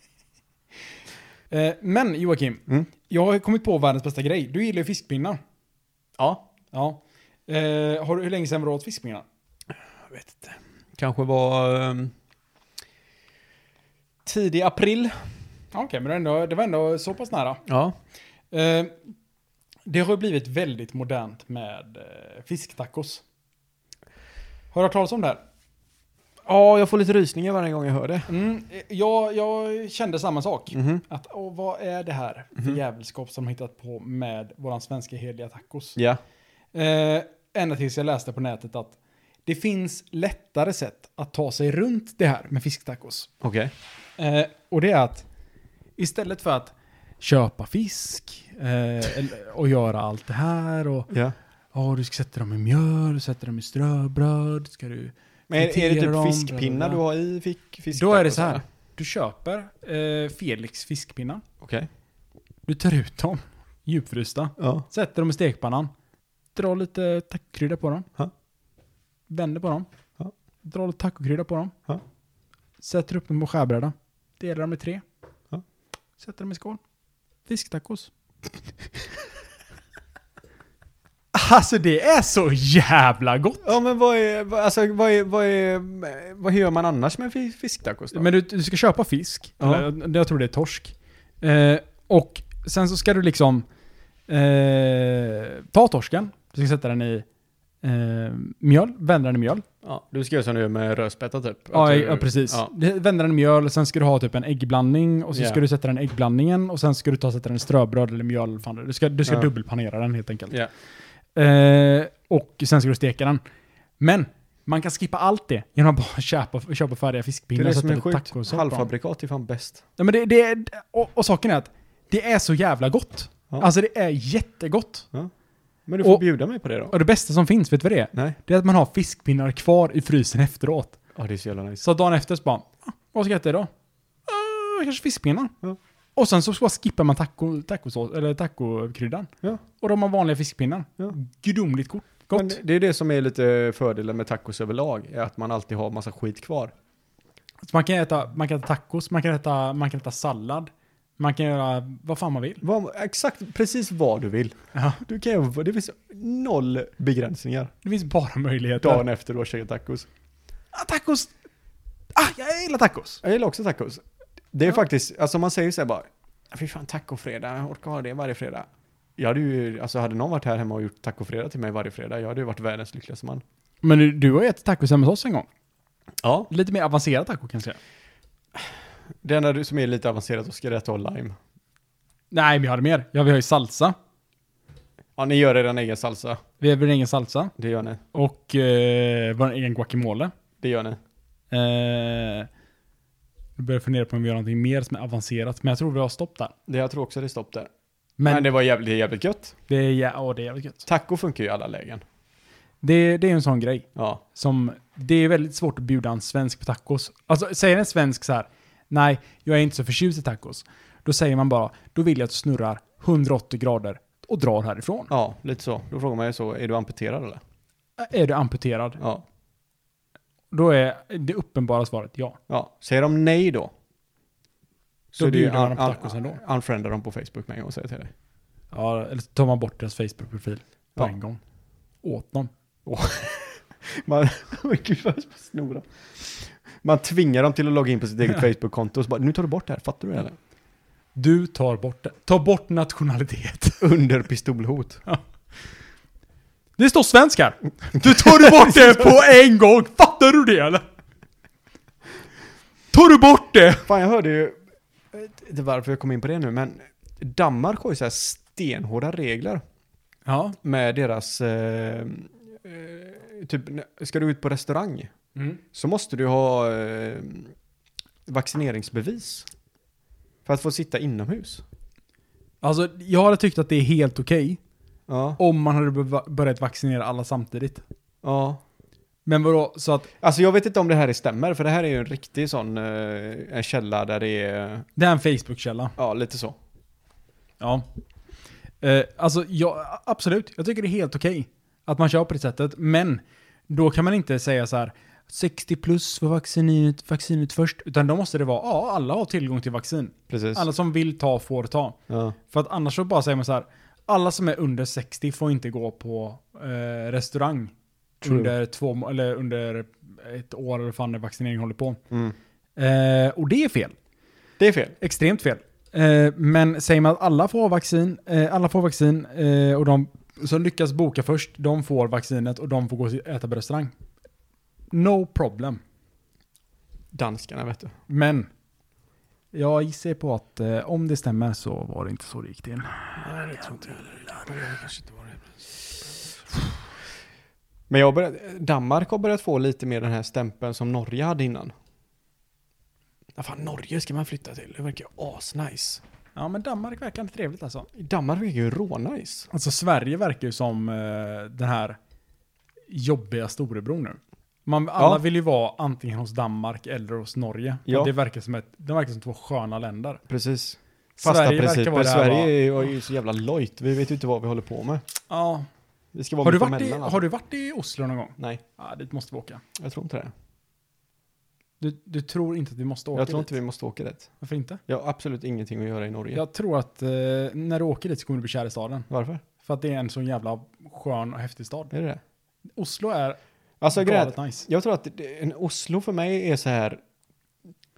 A: eh, men Joakim,
B: Mm.
A: jag har kommit på världens bästa grej. Du gillar ju fiskpinnar.
B: Ja.
A: Ja. Eh, har du, hur länge sedan var du åt fiskpinnar?
B: Jag vet inte. Kanske var... ehm, tidig april.
A: Ja, Okej, men det var, ändå, det var ändå så pass nära.
B: Ja.
A: Eh, det har ju blivit väldigt modernt med eh, fisktacos. Har du hört talas om det här?
B: Ja, jag får lite rysningar varje gång jag hör det.
A: Mm, eh, jag, jag kände samma sak.
B: Mhm.
A: Att, åh, vad är det här för jävelskap som de hittat på med våran svenska heliga tacos?
B: Ja.
A: Eh, ända tills jag läste på nätet att det finns lättare sätt att ta sig runt det här med fisktacos.
B: Okej.
A: Eh, och det är att istället för att köpa fisk eh, eller- och göra allt det här och
B: Ja.
A: ja, du ska sätta dem i mjöl, du sätter dem i ströbröd, ska du...
B: Men är, är det
A: fritera dem,
B: typ
A: bla,
B: fiskpinnar
A: bla,
B: du
A: bla.
B: har i fick, fisk?
A: Då är det så här, du köper eh, Felix fiskpinnar.
B: Okej.
A: Du tar ut dem, djupfrysta,
B: Ja.
A: sätter dem i stekpannan, drar lite tacokrydda på dem,
B: Ja.
A: vänder på dem,
B: Ja.
A: drar lite tacokrydda på dem,
B: Ja.
A: sätter upp dem på skärbrädan, delar dem i tre,
B: Ja.
A: sätter dem i skål. Fisktacos. alltså det är så jävla gott!
B: Ja men vad är, vad- alltså vad är, vad är, vad gör man annars med fi- fisktacos då?
A: Men du, du ska köpa fisk,
B: Ja.
A: eller, jag tror det är torsk. Eh, och sen så ska du liksom eh, ta torsken, du ska sätta den i eh, mjöl, vända den i mjöl.
B: ja, du ska göra som du gör med rödspätta typ?
A: Ja,
B: Att du,
A: ja, precis.
B: Ja.
A: Vända den i mjöl, sen ska du ha typ en äggblandning och så
B: Ja.
A: ska du sätta den i äggblandningen och sen ska du ta sätta den i ströbröd eller mjöl. eller vad fan det är. Du ska, du ska
B: Ja.
A: dubbelpanera den helt enkelt.
B: Ja.
A: Eh, och sen ska du steka den. Men man kan skippa allt det genom att bara köpa, köpa färdiga
B: Det är
A: fiskpinnar
B: det
A: och
B: som
A: sätta
B: är
A: lite tacos
B: sjukt.
A: på dem.
B: Halvfabrikat är fan bäst.
A: Nej, men det, det är, och, och saken är att det är så jävla gott.
B: Ja.
A: Alltså det är jättegott.
B: Men du får
A: Och-
B: bjuda mig på det då.
A: Och det bästa som finns, vet du vad det är?
B: Nej.
A: Det är att man har fiskpinnar kvar i frysen efteråt.
B: Ja, det är så jävla nice.
A: Så dagen efter så bara, "Ah, vad ska jag äta idag? "Ah, kanske fiskpinnar.
B: Ja.
A: Och sen så bara skippar man taco, tacosås, eller tacokryddan.
B: Ja.
A: Och de har vanliga fiskpinnar.
B: Ja.
A: Gudomligt gott. gott.
B: Men det är det som är lite fördelen med tacos överlag, är att man alltid har massa skit kvar.
A: Så man, kan äta, man kan äta tacos, man kan äta, man kan äta sallad. Man kan göra vad fan man vill.
B: Vad, exakt precis vad du vill.
A: Ja.
B: Du kan, göra vad- det finns noll begränsningar
A: Det finns bara möjligheter.
B: dagen efter du har käkat tacos.
A: Ah, tacos! Ah, jag gillar tacos!
B: Jag gillar också tacos. Det är faktiskt, alltså man säger så här bara, fy fan tacofredag, jag orkar ha det varje fredag. Jag hade ju, alltså hade någon varit här hemma och gjort tacofredag till mig varje fredag, jag hade ju varit världens lyckligaste man.
A: Men du, du har ju ätit tacos hemma hos oss en gång.
B: Ja.
A: Lite mer avancerad taco kan jag säga.
B: Det enda du- som är lite avancerat, då ska det är att du har lime.
A: Nej, vi hade mer. Ja, vi har ju salsa.
B: Ja, ni gör er egen salsa.
A: Vi har vår egen salsa.
B: Det gör ni.
A: Och eh, vår egen guacamole.
B: Det gör ni.
A: Eh, jag börjar fundera på om vi gör någonting mer som är avancerat, men jag tror vi har stopp där.
B: Det, jag tror också det är stopp där. Men,
A: Men,
B: det
A: det,
B: var jävligt, det är jävligt gött.
A: är, jä- ja, det är jävligt gött.
B: Taco funkar ju i alla lägen.
A: Det, det är ju en sån grej
B: Ja.
A: som, det är väldigt svårt att bjuda en svensk på tacos. Alltså säger en svensk så här, nej, jag är inte så förtjust i tacos. Då säger man bara, då vill jag att du snurrar 180 grader och drar härifrån.
B: Ja, lite så. Då frågar man ju så, är du amputerad eller?
A: Är du amputerad?
B: Ja.
A: Då är det uppenbara svaret ja.
B: ja. Säger de nej då?
A: Då
B: är det ju
A: bjuder man
B: un-
A: dem på
B: un-
A: tacos ändå.
B: Unfrienda dem på Facebook med en gång och säger till dig.
A: ja eller så tar man bort deras Facebook-profil på
B: Ja.
A: en gång. Åt dem.
B: Man, men gud vad jag snora. Man tvingar dem till att logga in på sitt eget Facebook-konto och så bara, nu tar du bort det här, fattar du det eller?
A: Du tar bort det. Ta bort nationalitet.
B: Under pistolhot.
A: Det står svensk här. Du tar bort det på en gång. Fattar du det eller? Tar du bort det?
B: Fan jag hörde ju, jag vet inte varför jag kom in på det nu, men Danmark har ju så här stenhårda regler
A: Ja.
B: med deras, eh, eh, typ, ska du ut på restaurang
A: Mm.
B: så måste du ha eh, vaccineringsbevis. För att få sitta inomhus.
A: Alltså, jag hade tyckt att det är helt okej
B: Ja.
A: om man hade beva- börjat vaccinera alla samtidigt.
B: ja.
A: Men vadå, så att
B: Alltså jag vet inte om det här är stämmer, för det här är ju en riktig sån eh, en källa där det är,
A: det här är en Facebook-källa.
B: ja lite så.
A: Ja. Eh, alltså, ja, absolut. Jag tycker det är helt okej att man kör på det sättet. Men då kan man inte säga så här 60 plus för vaccinet, vaccinet först. Utan då måste det vara, ja, alla har tillgång till vaccin.
B: Precis.
A: Alla som vill ta får ta.
B: Ja.
A: För att annars så bara säger man så här, alla som är under 60 får inte gå på eh, restaurang
B: True.
A: under två, må- eller under ett år eller vad fan när vaccinering håller på.
B: Mm.
A: Eh, och det är fel.
B: Det är fel.
A: Extremt fel. Eh, men säger man att alla får vaccin, eh, alla får vaccin eh, och de som lyckas boka först, de får vaccinet och de får gå och äta på restaurang. No problem.
B: Danskarna vet du.
A: Men jag gissar på att eh, om det stämmer så var det inte så det gick till.
B: Men jag började, Danmark har börjat få lite mer den här stämpeln som Norge hade innan. Ja, fan, Norge ska man flytta till, det verkar ju asnice.
A: Ja men Danmark verkar inte trevligt alltså.
B: Danmark verkar ju rånice.
A: Alltså Sverige verkar ju som eh, den här jobbiga storebror nu. Man, alla
B: Ja.
A: vill ju vara antingen hos Danmark eller hos Norge.
B: Ja.
A: Det verkar som ett, de verkar som två sköna länder.
B: Precis. Fasta
A: Sverige verkar
B: principer.
A: vara det här
B: Sverige
A: bara-
B: är ju- är ju så jävla lojt, vi vet ju inte vad vi håller på med.
A: Ja.
B: Vi ska vara
A: Har, du
B: mitt
A: varit i,
B: emellan. alltså.
A: har du varit i Oslo någon gång?
B: Nej,
A: Ja, dit måste vi åka.
B: jag tror inte det.
A: Du, du tror inte att vi måste åka
B: Jag tror
A: dit?
B: inte vi måste åka dit.
A: Varför inte?
B: Jag har absolut ingenting att göra i Norge.
A: Jag tror att eh, när du åker dit så kommer du bli kär i staden.
B: Varför?
A: För att det är en sån jävla skön och häftig stad.
B: Är det det?
A: Oslo är
B: Alltså grejen är att
A: galet nice.
B: jag tror att det- en Oslo för mig är så här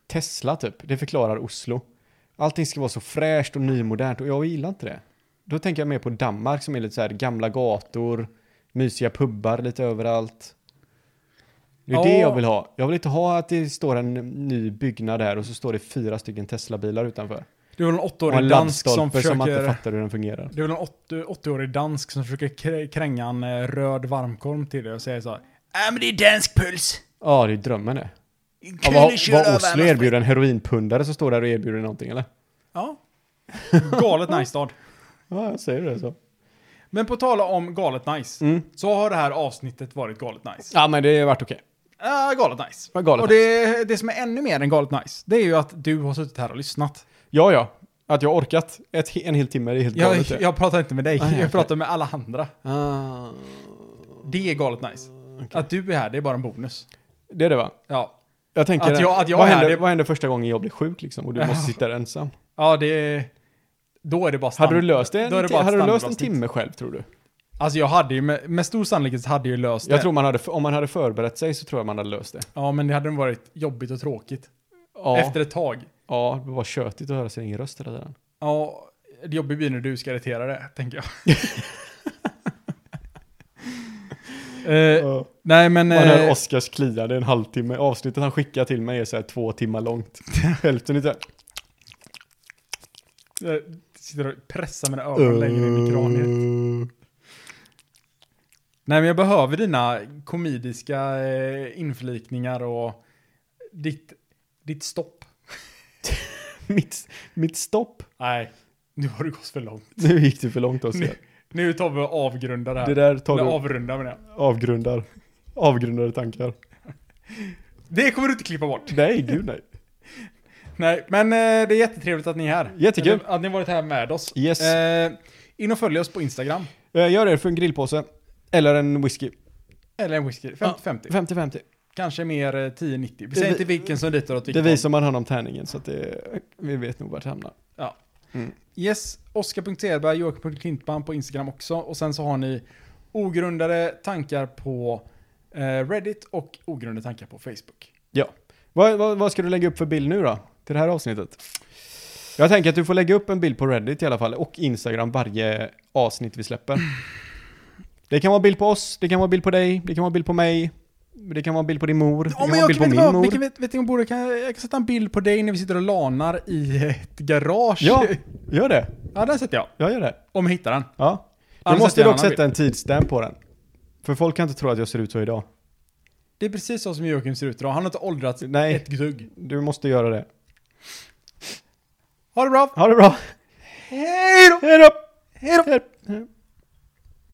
B: Tesla typ, det förklarar Oslo. Allting ska vara så fräscht och nymodernt och jag gillar inte det. Då tänker jag mer på Danmark som är lite så här gamla gator, mysiga pubbar lite överallt. Det är det
A: Ja.
B: jag vill ha. Jag vill inte ha att det står en ny byggnad där och så står det fyra stycken Tesla-bilar utanför.
A: Det var en
B: Och en
A: åttaårig dansk som
B: laddstolpe
A: försöker...
B: som man inte fattar hur den fungerar.
A: Det är väl en 80 80-årig dansk som försöker krä- kränga en eh, röd varmkorv till dig och säger så här. Ja men det är dansk puls.
B: Ja, det är drömmen det. Ja,
A: Kunde
B: vad,
A: köra
B: vad
A: över
B: Oslo
A: annars."
B: erbjuder, en heroinpundare som står där och erbjuder någonting eller?
A: Ja. Galet nice stad.
B: Ja, jag säger det så.
A: Men på tala om galet nice.
B: Mm.
A: Så har det här avsnittet varit galet nice.
B: Ja, men det har varit okej.
A: Ja, galet nice.
B: Vad galet
A: och det, det som är ännu mer än galet nice, det är ju att du har suttit här och lyssnat.
B: Ja, ja. Att jag har orkat ett, he- en hel timme är helt
A: Jag,
B: galet. Ah, det.
A: jag pratar inte med dig,
B: Nej, okej.
A: jag pratar med alla andra.
B: Ah,
A: Det är galet nice. Att du är här, det är bara en bonus.
B: det är det va?
A: Ja,
B: Jag tänker,
A: Att jag- att jag
B: vad,
A: är här,
B: händer,
A: det-
B: vad händer första gången jag blir sjuk liksom och du måste sitta där ensam?
A: ja det... Då är det bara
B: Hade du
A: standard-
B: löst det,
A: då är
B: en,
A: det
B: ti-
A: bara ett
B: hade du löst en
A: standardavsnitt.
B: timme själv tror du?
A: Alltså jag hade ju, med, med stor sannolikhet hade jag ju löst
B: Jag
A: det.
B: tror man hade, om man hade förberett sig så tror jag man hade löst det.
A: Ja, men det hade nog varit jobbigt och tråkigt.
B: Ja,
A: Efter ett tag.
B: ja det var tjötigt att höra sin egen röst hela tiden.
A: Ja, det jobbiga blir när du ska irritera det, tänker jag. eh,
B: Ja.
A: nej, men...
B: Man hör
A: eh,
B: Oskars klia, det är en halvtimme. Avsnittet han skickar till mig är så här två timmar långt. Hälften är så här,
A: jag sitter och pressar mina öron längre in i
B: Mm.
A: kraniet.
B: Eh,
A: Nej, men jag behöver dina komediska eh, inflikningar och ditt, ditt stopp.
B: mitt, mitt stopp.
A: Nej, nu har du gått för långt.
B: Nu gick det för långt Oskar.
A: Nu, nu tar vi och avrundar det här.
B: Det där tar
A: Eller
B: du
A: avrundar menar jag.
B: avgrundar. Avgrundade tankar.
A: Det kommer du inte klippa bort.
B: Nej, gud nej.
A: Nej, men eh, det är jättetrevligt att ni är här.
B: Jättekul.
A: Eller Att ni har varit här med oss.
B: Yes.
A: Eh, In och följ oss på Instagram.
B: Eh, Gör det för en grillpåse. Eller en whisky.
A: Eller en whisky.
B: Ja.
A: 50-50.
B: 50-50.
A: Kanske mer eh, 10-90. Vi
B: Det
A: säger
B: vi-
A: inte vilken som lutar åt
B: Det är
A: vilket
B: vi
A: håll.
B: som har hand om tärningen så att det, vi vet nog vart det hamnar. Mm.
A: Yes, Oskar.Edberg, Joakim.Klintman på Instagram också. Och sen så har ni ogrundade tankar på eh, Reddit och ogrundade tankar på Facebook.
B: Vad, vad, vad ska du lägga upp för bild nu då? Till det här avsnittet? Jag tänker att du får lägga upp en bild på Reddit i alla fall och Instagram varje avsnitt vi släpper. Det kan vara bild på oss, det kan vara bild på dig, det kan vara bild på mig, det kan vara bild på din mor, det
A: Ja,
B: kan
A: men
B: vara
A: jag
B: bild på
A: vet,
B: min
A: inte vad,
B: mor.
A: vilken, vet, vet du vad jag borde, kan jag, jag kan sätta en bild på dig när vi sitter och lanar i ett garage.
B: Ja, gör det.
A: ja den sätter jag.
B: Jag gör det.
A: Om jag hittar den.
B: Ja. Du
A: Annars
B: måste
A: sätter jag
B: dock
A: en annan
B: sätta en tidsstamp på den. För folk kan inte tro att jag ser ut så idag.
A: Det är precis så som Joakim ser ut idag. Han har inte åldrats
B: Nej.
A: ett dugg.
B: Du måste göra det.
A: Ha det bra!
B: Ha det bra.
A: Hej då!
B: Hej då!
A: Hej då!
B: Hej då.